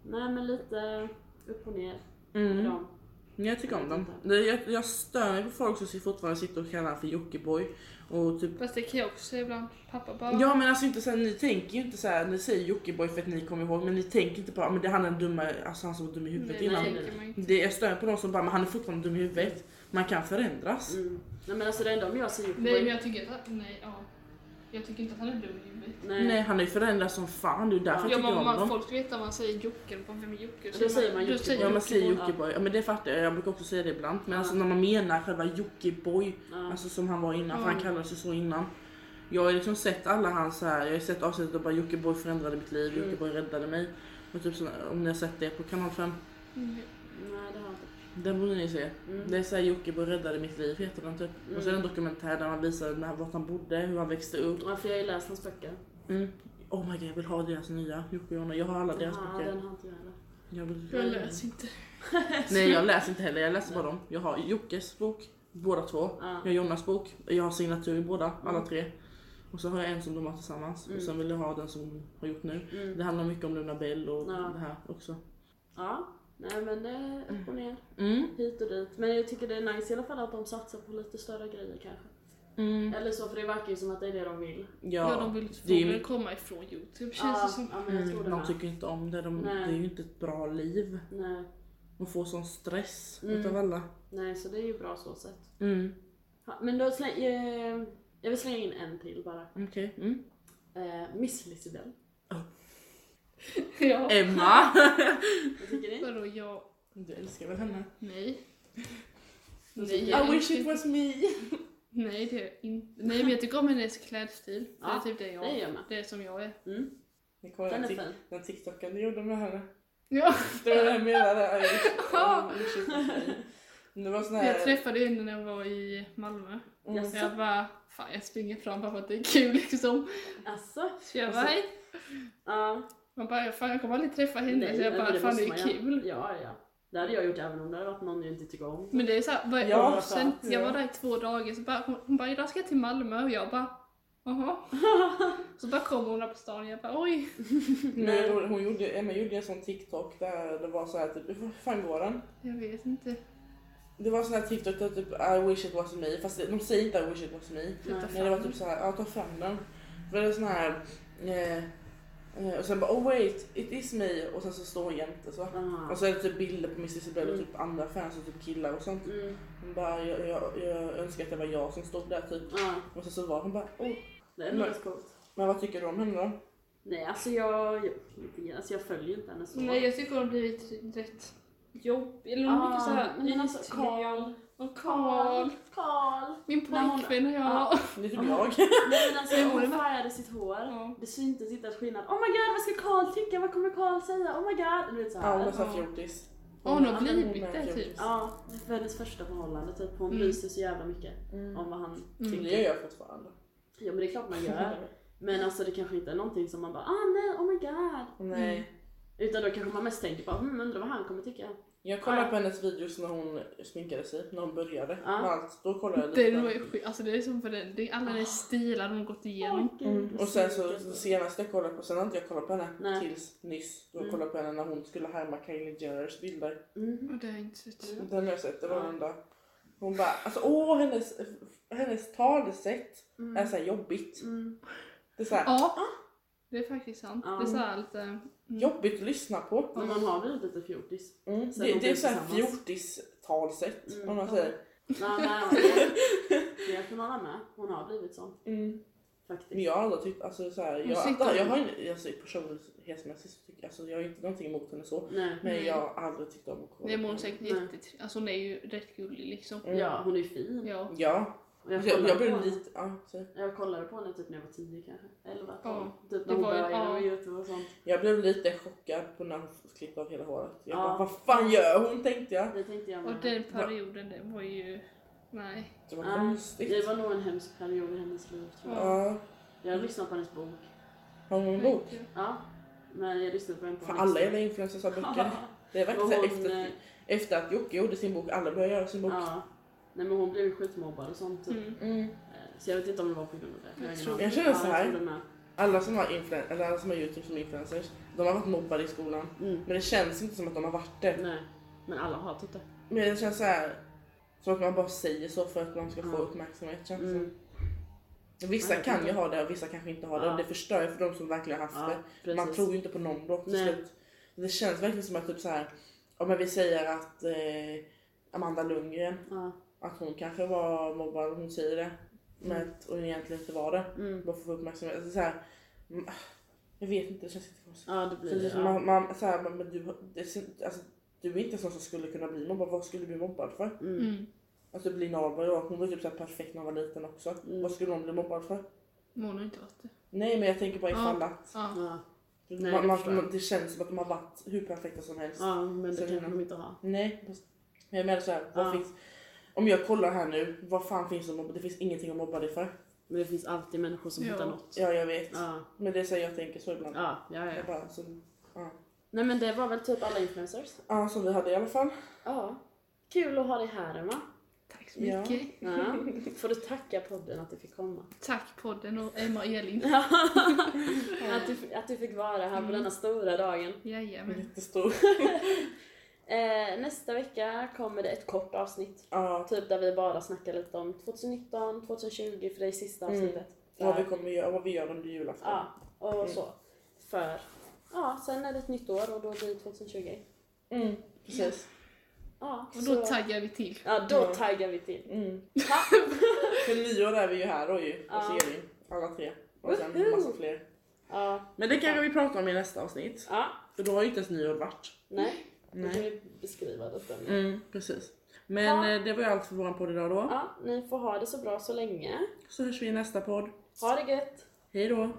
[SPEAKER 1] Nej, men lite upp och ner. med
[SPEAKER 2] Mm.
[SPEAKER 1] dem.
[SPEAKER 2] Men jag tycker om dem. Det- Jag, jag stör mig på folk som fortfarande sitter och kallar han för Jockiboi. Och typ
[SPEAKER 3] Fast det kan jag också säga ibland. Pappa bara...
[SPEAKER 2] Ja men alltså inte såhär, ni tänker ju inte såhär, ni säger Jockiboi för att ni kommer ihåg men ni tänker inte på men det är han den dumma, alltså han som var dum i huvudet
[SPEAKER 3] nej,
[SPEAKER 2] innan.
[SPEAKER 3] nej, tänker man ju inte.
[SPEAKER 2] Det, jag stör mig på de som bara, men han är fortfarande dum i huvudet. Man kan förändras.
[SPEAKER 1] Mm. Nej, men alltså det enda om jag ser upp
[SPEAKER 3] Nej men
[SPEAKER 1] nej,
[SPEAKER 3] jag tycker att nej, ja. Jag tycker inte att han är dum i huvudet.
[SPEAKER 1] nej.
[SPEAKER 2] Nej han är ju förändrad som fan, det är därför
[SPEAKER 3] Ja,
[SPEAKER 2] jag tycker
[SPEAKER 3] men
[SPEAKER 2] om
[SPEAKER 3] man,
[SPEAKER 2] dem.
[SPEAKER 3] folk vet att man säger Jocke, bara, vem är Jocke?
[SPEAKER 1] då säger man
[SPEAKER 3] då
[SPEAKER 1] Jocke.
[SPEAKER 3] säger
[SPEAKER 2] Ja man säger
[SPEAKER 3] Jocke.
[SPEAKER 2] Jockiboi, ja men det fattar jag, jag brukar också säga det ibland. Men
[SPEAKER 1] Ja.
[SPEAKER 2] alltså när man menar själva Jockiboi,
[SPEAKER 1] Ja.
[SPEAKER 2] alltså som han var innan, för
[SPEAKER 3] Ja.
[SPEAKER 2] han kallades ju så innan. Jag har liksom sett alla hans, så här, jag har sett avsnittet och bara Jockiboi förändrade mitt liv,
[SPEAKER 1] Mm.
[SPEAKER 2] Jockiboi räddade mig. Och typ sådär, om ni har sett det på kanal 5,
[SPEAKER 3] Mm.
[SPEAKER 1] nej, det har jag inte.
[SPEAKER 2] den borde ni se.
[SPEAKER 1] Mm.
[SPEAKER 2] Det är såhär Jockiboi räddade mitt liv heter den typ. Och så är det en dokumentär där man visar när, vart han bodde, hur han växte upp.
[SPEAKER 1] Ja, för jag har ju läst hans böcker.
[SPEAKER 2] Mm. Oh my god jag vill ha deras nya Jocke och Jonna, jag har alla deras
[SPEAKER 1] Ja,
[SPEAKER 2] böcker.
[SPEAKER 1] den har inte jag heller.
[SPEAKER 2] Jag vill...
[SPEAKER 3] Jag läser inte.
[SPEAKER 2] Nej jag läser inte heller, jag läser bara dem. Jag har Jockes bok, båda två.
[SPEAKER 1] Ja.
[SPEAKER 2] Jag har Jonas bok, jag har signatur i båda, alla
[SPEAKER 1] Mm.
[SPEAKER 2] tre. Och så har jag en som de har tillsammans
[SPEAKER 1] Mm.
[SPEAKER 2] och sen vill jag ha den som hon har gjort nu.
[SPEAKER 1] Mm.
[SPEAKER 2] Det handlar mycket om Luna Bell och
[SPEAKER 1] Ja.
[SPEAKER 2] det här också.
[SPEAKER 1] ja. Nej men det är upp och ner,
[SPEAKER 2] Mm.
[SPEAKER 1] hit och dit. Men jag tycker det är nice i alla fall att de satsar på lite större grejer kanske.
[SPEAKER 2] Mm.
[SPEAKER 1] Eller så, för det verkar ju som att det är det de vill.
[SPEAKER 3] Ja,
[SPEAKER 2] Ja,
[SPEAKER 3] de vill
[SPEAKER 2] det är
[SPEAKER 3] förmodligen
[SPEAKER 2] ju,
[SPEAKER 3] komma ifrån Youtube känns
[SPEAKER 1] Ja,
[SPEAKER 3] det som.
[SPEAKER 1] ja men jag tror
[SPEAKER 2] mm,
[SPEAKER 1] det
[SPEAKER 2] de
[SPEAKER 1] med.
[SPEAKER 2] tycker inte om det, de, det
[SPEAKER 1] Nej.
[SPEAKER 2] är ju inte ett bra liv.
[SPEAKER 1] Nej,
[SPEAKER 2] De får sån stress
[SPEAKER 1] Mm.
[SPEAKER 2] utav alla.
[SPEAKER 1] nej, så det är ju bra så sett.
[SPEAKER 2] Mm.
[SPEAKER 1] Ja, men då släng, eh, jag vill slänga in en till bara.
[SPEAKER 2] Okej. Mm.
[SPEAKER 1] Eh, Miss Lisibell.
[SPEAKER 3] Ja.
[SPEAKER 2] Eh. Emma!
[SPEAKER 1] Vad tycker ni?
[SPEAKER 3] Vadå jag?
[SPEAKER 2] Du älskar väl henne?
[SPEAKER 3] Nej.
[SPEAKER 1] Jag
[SPEAKER 3] Nej,
[SPEAKER 1] tycker-
[SPEAKER 3] jag
[SPEAKER 2] I wish
[SPEAKER 3] älskar-
[SPEAKER 2] it was me!
[SPEAKER 3] Nej det är inte. Nej men jag tycker om hennes klädstil. För
[SPEAKER 1] Ja,
[SPEAKER 3] det är typ det jag
[SPEAKER 1] det gör jag med.
[SPEAKER 3] Det är som jag är.
[SPEAKER 1] Mm,
[SPEAKER 2] Ni kollar
[SPEAKER 1] den är
[SPEAKER 2] tik-
[SPEAKER 1] fin.
[SPEAKER 2] den tiktoken du gjorde med henne.
[SPEAKER 3] Ja.
[SPEAKER 2] Det var det jag menade. I wish- I wish it was me. Det var sån
[SPEAKER 3] Jag
[SPEAKER 2] här...
[SPEAKER 3] träffade ju henne när jag var i Malmö.
[SPEAKER 2] Mm.
[SPEAKER 3] Så jag bara, fan jag springer fram bara för att det är kul liksom.
[SPEAKER 1] Alltså,
[SPEAKER 3] Så jag bara, hej!
[SPEAKER 1] ja.
[SPEAKER 3] Man bara, fan jag kommer aldrig träffa henne. så jag
[SPEAKER 1] men
[SPEAKER 3] bara, fan det
[SPEAKER 1] måste
[SPEAKER 3] är
[SPEAKER 1] man
[SPEAKER 3] kul.
[SPEAKER 1] göra. Ja, ja. Det hade jag gjort även om det hade varit någon jag inte tycker om.
[SPEAKER 3] Men det är såhär, vad
[SPEAKER 2] Ja,
[SPEAKER 3] ja, sen,
[SPEAKER 2] sant,
[SPEAKER 3] jag
[SPEAKER 2] ja.
[SPEAKER 3] var där i två dagar så bara, hon, hon bara, idag ska jag till Malmö och jag bara, jaha. så bara kommer hon där på stan och jag bara, oj.
[SPEAKER 2] Men hon- hon gjorde, Emma gjorde en sån TikTok där det var så här typ, hur fan går den?
[SPEAKER 3] Jag vet inte.
[SPEAKER 2] Det var sån här TikTok där typ I wish it was me, fast de säger inte I wish it was me.
[SPEAKER 3] Sluta
[SPEAKER 1] Nej,
[SPEAKER 2] Men det var typ så här, ja ta fram den. För det är sån här, eh, eh, och sen bara oh wait, it is me och sen så står hon jämte så.
[SPEAKER 1] Ah.
[SPEAKER 3] Alltså.
[SPEAKER 2] Och så är det typ bilder på Miss Isabel och
[SPEAKER 1] Mm.
[SPEAKER 2] typ andra fans och typ killar och sånt.
[SPEAKER 1] Mm.
[SPEAKER 2] Hon bara, jag, jag, jag önskar att det var jag som stod där typ.
[SPEAKER 1] Ja,
[SPEAKER 2] Och sen så var hon bara, oh.
[SPEAKER 1] det är
[SPEAKER 2] Nej.
[SPEAKER 1] något coolt.
[SPEAKER 2] Men vad tycker du om henne då?
[SPEAKER 1] Nej, alltså jag, jag, alltså jag följer ju inte henne så.
[SPEAKER 3] Nej jag tycker hon har blivit rätt jobbig. Eller hon är mycket
[SPEAKER 1] ah,
[SPEAKER 3] såhär
[SPEAKER 1] men alltså Karl.
[SPEAKER 3] Och Karl.
[SPEAKER 1] Karl.
[SPEAKER 3] Min
[SPEAKER 1] När hon-
[SPEAKER 3] pojkvän och jag.
[SPEAKER 1] Ja.
[SPEAKER 2] Det är typ
[SPEAKER 1] Mm.
[SPEAKER 2] jag.
[SPEAKER 1] Nej men alltså
[SPEAKER 3] Jo,
[SPEAKER 1] hon
[SPEAKER 3] det var-
[SPEAKER 1] färgade sitt hår.
[SPEAKER 3] Ja.
[SPEAKER 1] Det syntes inte att skillnad. Oh my god vad ska Karl tycka? Vad kommer Karl säga? Oh my god. Du vet
[SPEAKER 2] Ja, hon är
[SPEAKER 1] såhär.
[SPEAKER 2] så här fjortis.
[SPEAKER 3] Och hon
[SPEAKER 1] Ja,
[SPEAKER 3] har
[SPEAKER 1] men
[SPEAKER 3] blivit
[SPEAKER 2] hon är
[SPEAKER 3] det typ.
[SPEAKER 2] fjortis.
[SPEAKER 1] Ja, det var hennes första förhållande typ. Hon
[SPEAKER 3] Mm.
[SPEAKER 1] bryr sig så jävla mycket
[SPEAKER 2] Mm.
[SPEAKER 1] om vad han
[SPEAKER 3] Mm.
[SPEAKER 2] Det
[SPEAKER 1] tycker.
[SPEAKER 2] gör jag fortfarande.
[SPEAKER 1] Ja men det är klart man gör. Men alltså det kanske inte är någonting som man bara ah nej, oh my god.
[SPEAKER 2] Nej.
[SPEAKER 1] Mm. Utan då kanske man mest tänker på hmm, undrar vad han kommer tycka.
[SPEAKER 2] Jag kollade på hennes videos när hon sminkade sig, när hon började.
[SPEAKER 1] Ja.
[SPEAKER 2] Med allt. Då kollade jag
[SPEAKER 3] Den var
[SPEAKER 2] lite.
[SPEAKER 3] ju skit, alltså det är som för den, det är
[SPEAKER 1] Ah.
[SPEAKER 3] alla de stilar hon gått igenom.
[SPEAKER 1] Åh, gud,
[SPEAKER 2] Mm. Och sen så
[SPEAKER 1] så-
[SPEAKER 2] senast jag kollade på, sen har inte jag kollat på henne
[SPEAKER 1] Nej.
[SPEAKER 2] tills nyss. Då
[SPEAKER 1] Mm.
[SPEAKER 2] kollade jag på henne när hon skulle härma Kylie Jenners bilder.
[SPEAKER 1] Mm.
[SPEAKER 3] Och det har jag inte sett.
[SPEAKER 1] Mm.
[SPEAKER 2] Den har jag sett, det var
[SPEAKER 1] Ja.
[SPEAKER 2] den där. Hon bara, alltså åh hennes, hennes talesätt är
[SPEAKER 1] Mm.
[SPEAKER 2] såhär jobbigt.
[SPEAKER 1] Mm.
[SPEAKER 2] Det är såhär
[SPEAKER 3] Ja, det är faktiskt sant.
[SPEAKER 1] Ja.
[SPEAKER 3] Det är såhär lite... mm.
[SPEAKER 2] jobbigt att lyssna på.
[SPEAKER 1] Men man har blivit lite fjortis.
[SPEAKER 2] Mm.
[SPEAKER 1] Sen
[SPEAKER 2] Det,
[SPEAKER 1] Mm. de
[SPEAKER 2] det är
[SPEAKER 1] blev
[SPEAKER 2] såhär
[SPEAKER 1] tillsammans.
[SPEAKER 2] fjortis-talsätt
[SPEAKER 1] Mm.
[SPEAKER 2] om man
[SPEAKER 1] Ja.
[SPEAKER 2] säger.
[SPEAKER 1] Nej, nej, nej. Det är hon alla med. Hon har blivit sån
[SPEAKER 2] Mm. Men
[SPEAKER 1] faktiskt.
[SPEAKER 2] jag har aldrig tyckt, alltså såhär, jag,
[SPEAKER 3] sitter-
[SPEAKER 2] jag, jag har en, alltså personlighetsmässigt så tycker jag, alltså jag har inte någonting emot henne så.
[SPEAKER 1] Nej.
[SPEAKER 2] Men
[SPEAKER 3] Nej.
[SPEAKER 2] jag har aldrig tyckt om att kolla
[SPEAKER 3] Det är hon
[SPEAKER 2] på henne.
[SPEAKER 3] säkert
[SPEAKER 1] Nej.
[SPEAKER 3] jättetrevlig. Alltså hon är ju rätt gullig liksom.
[SPEAKER 2] Mm.
[SPEAKER 1] Ja, hon är ju fin.
[SPEAKER 3] Ja.
[SPEAKER 2] Ja, Alltså,
[SPEAKER 1] Och
[SPEAKER 2] jag,
[SPEAKER 1] kollade
[SPEAKER 2] jag, jag
[SPEAKER 1] på
[SPEAKER 2] blev
[SPEAKER 1] henne.
[SPEAKER 2] lite, ja, så.
[SPEAKER 1] Jag kollade på henne typ när jag var 10 kanske. 11, 12.
[SPEAKER 3] Ja,
[SPEAKER 1] typ när
[SPEAKER 3] det
[SPEAKER 1] hon
[SPEAKER 3] var ju-
[SPEAKER 1] började
[SPEAKER 3] ja.
[SPEAKER 1] med Youtube och sånt.
[SPEAKER 2] jag blev lite chockad på när hon klippte av hela håret. Jag
[SPEAKER 1] Ja.
[SPEAKER 2] bara, vad fan gör hon tänkte jag.
[SPEAKER 1] Det tänkte jag
[SPEAKER 3] Och
[SPEAKER 1] med.
[SPEAKER 3] den perioden det var ju... Nej.
[SPEAKER 2] Det var
[SPEAKER 1] Nej,
[SPEAKER 2] konstigt.
[SPEAKER 1] Det var nog en hemsk period i hennes liv tror jag.
[SPEAKER 2] Ja,
[SPEAKER 1] Jag har lyssnat på hennes bok.
[SPEAKER 2] har hon en bok?
[SPEAKER 1] Ja. Men jag lyssnade på en på
[SPEAKER 2] För
[SPEAKER 1] hennes-
[SPEAKER 2] alla jävla influencers har böcker. Det är verkligen
[SPEAKER 1] Och
[SPEAKER 2] såhär
[SPEAKER 1] hon,
[SPEAKER 2] efter,
[SPEAKER 1] eh,
[SPEAKER 2] efter att Jocke gjorde sin bok, alla började göra sin bok.
[SPEAKER 1] ja. Nej men hon blev ju skitmobbad och sånt typ.
[SPEAKER 3] Mm.
[SPEAKER 2] Mm.
[SPEAKER 1] Eh, Så jag vet inte om det var på grund av det.
[SPEAKER 3] Jag
[SPEAKER 1] har ingen
[SPEAKER 3] tror-
[SPEAKER 1] aning.
[SPEAKER 2] jag känner så
[SPEAKER 1] Ja,
[SPEAKER 2] här.
[SPEAKER 1] jag tror det med.
[SPEAKER 2] Alla som har influen- eller alla som har youtube som influencers, de har varit mobbade i skolan.
[SPEAKER 1] Mm.
[SPEAKER 2] Men det känns inte som att de har varit det.
[SPEAKER 1] Nej. Men alla har typ det.
[SPEAKER 2] Men det känns så här som att man bara säger så för att man ska få
[SPEAKER 1] Ja.
[SPEAKER 2] uppmärksamhet känns det
[SPEAKER 1] Mm.
[SPEAKER 2] som. Vissa
[SPEAKER 1] Ja,
[SPEAKER 2] kan
[SPEAKER 1] inte.
[SPEAKER 2] ju ha det och vissa kanske inte har det
[SPEAKER 1] Ja.
[SPEAKER 2] och det förstör ju för de som verkligen har haft
[SPEAKER 1] Ja,
[SPEAKER 2] det.
[SPEAKER 1] precis.
[SPEAKER 2] Man tror ju inte på någon då till
[SPEAKER 1] Nej.
[SPEAKER 2] slut. Det känns verkligen som att typ så här, om vi säger att eh, Amanda Lundgren,
[SPEAKER 1] Ja.
[SPEAKER 2] att hon kanske var mobbad, hon säger det. Men att hon egentligen inte var det.
[SPEAKER 1] Mm.
[SPEAKER 2] Bara för att få uppmärksamhet. Alltså, så här, mm, jag vet inte, det känns lite konstigt.
[SPEAKER 1] ja, det
[SPEAKER 2] Så
[SPEAKER 1] blir
[SPEAKER 2] det
[SPEAKER 1] det.
[SPEAKER 2] är som
[SPEAKER 1] Ja.
[SPEAKER 2] man, man, så här, men du, det, ser- alltså, du är inte en sån som skulle kunna bli mobbad. Vad skulle du bli mobbad för?
[SPEAKER 1] Mm.
[SPEAKER 3] Mm.
[SPEAKER 2] Alltså bli normal då. Hon var typ så här perfekt när hon var liten också.
[SPEAKER 1] Mm.
[SPEAKER 2] Vad skulle hon bli mobbad för?
[SPEAKER 3] Men hon har inte varit det.
[SPEAKER 2] Nej men jag tänker bara ifall att.
[SPEAKER 3] Ja.
[SPEAKER 1] Ja.
[SPEAKER 2] man,
[SPEAKER 1] Nej,
[SPEAKER 2] det,
[SPEAKER 1] det
[SPEAKER 2] man,
[SPEAKER 1] förstår jag.
[SPEAKER 2] man, det känns som att de har varit hur perfekta som helst.
[SPEAKER 1] ja, men
[SPEAKER 2] Så
[SPEAKER 1] det
[SPEAKER 2] menar-
[SPEAKER 1] kanske de inte har.
[SPEAKER 2] Nej. fast- Men jag menar såhär,
[SPEAKER 1] Ja.
[SPEAKER 2] finns om jag kollar här nu, vad fan finns det att mobba? Det finns ingenting att mobba dig för.
[SPEAKER 1] Men det finns alltid människor som
[SPEAKER 3] Ja.
[SPEAKER 1] hittar något.
[SPEAKER 2] Ja jag vet.
[SPEAKER 1] Ja.
[SPEAKER 2] Men det är såhär jag tänker så ibland.
[SPEAKER 1] Ja, ja, ja.
[SPEAKER 2] Jag bara, alltså, så, ja.
[SPEAKER 1] Nej men det var väl typ alla influencers.
[SPEAKER 2] ja som vi hade i alla fall.
[SPEAKER 1] Ja. Kul att ha dig här Emma.
[SPEAKER 3] Tack så mycket.
[SPEAKER 1] Ja. Får du tacka podden att du fick komma.
[SPEAKER 3] Tack podden och Emma och Elin.
[SPEAKER 1] Att du, att du fick vara här på denna stora dagen. Mm.
[SPEAKER 3] Jajamän.
[SPEAKER 2] Jättestor.
[SPEAKER 1] Eh, nästa vecka kommer det ett kort avsnitt.
[SPEAKER 2] Ja.
[SPEAKER 1] Typ där vi bara snackar lite om 2019, 2020 för det är sista
[SPEAKER 2] Mm.
[SPEAKER 1] avsnittet.
[SPEAKER 2] Vad vi
[SPEAKER 1] Där.
[SPEAKER 2] kommer göra, vad vi gör under julafton.
[SPEAKER 1] Ja, och
[SPEAKER 2] Mm.
[SPEAKER 1] så. För, ja, sen är det ett nytt år och då blir det 2020.
[SPEAKER 2] Mm, precis.
[SPEAKER 1] Ja,
[SPEAKER 3] Och då
[SPEAKER 1] så-
[SPEAKER 3] taggar vi till.
[SPEAKER 1] Ja, då
[SPEAKER 2] Ja.
[SPEAKER 1] taggar vi till.
[SPEAKER 2] Mm.
[SPEAKER 1] Ha!
[SPEAKER 2] För nyår är vi ju här då ju,
[SPEAKER 1] Ja.
[SPEAKER 2] hos Elin. Alla tre. Och sen
[SPEAKER 1] Woho!
[SPEAKER 2] massa fler.
[SPEAKER 1] Ja,
[SPEAKER 2] Men det kanske vi pratar om i nästa avsnitt.
[SPEAKER 1] ja,
[SPEAKER 2] För då har ju inte ens nyår varit.
[SPEAKER 1] nej. Då kan vi beskriva detta. nu.
[SPEAKER 2] Mm, precis. Men
[SPEAKER 1] Ja.
[SPEAKER 2] eh, det var ju allt för våran podd idag då.
[SPEAKER 1] Ja, ni får ha det så bra så länge.
[SPEAKER 2] Så hörs vi i nästa podd.
[SPEAKER 1] Ha det gött!
[SPEAKER 2] Hej då!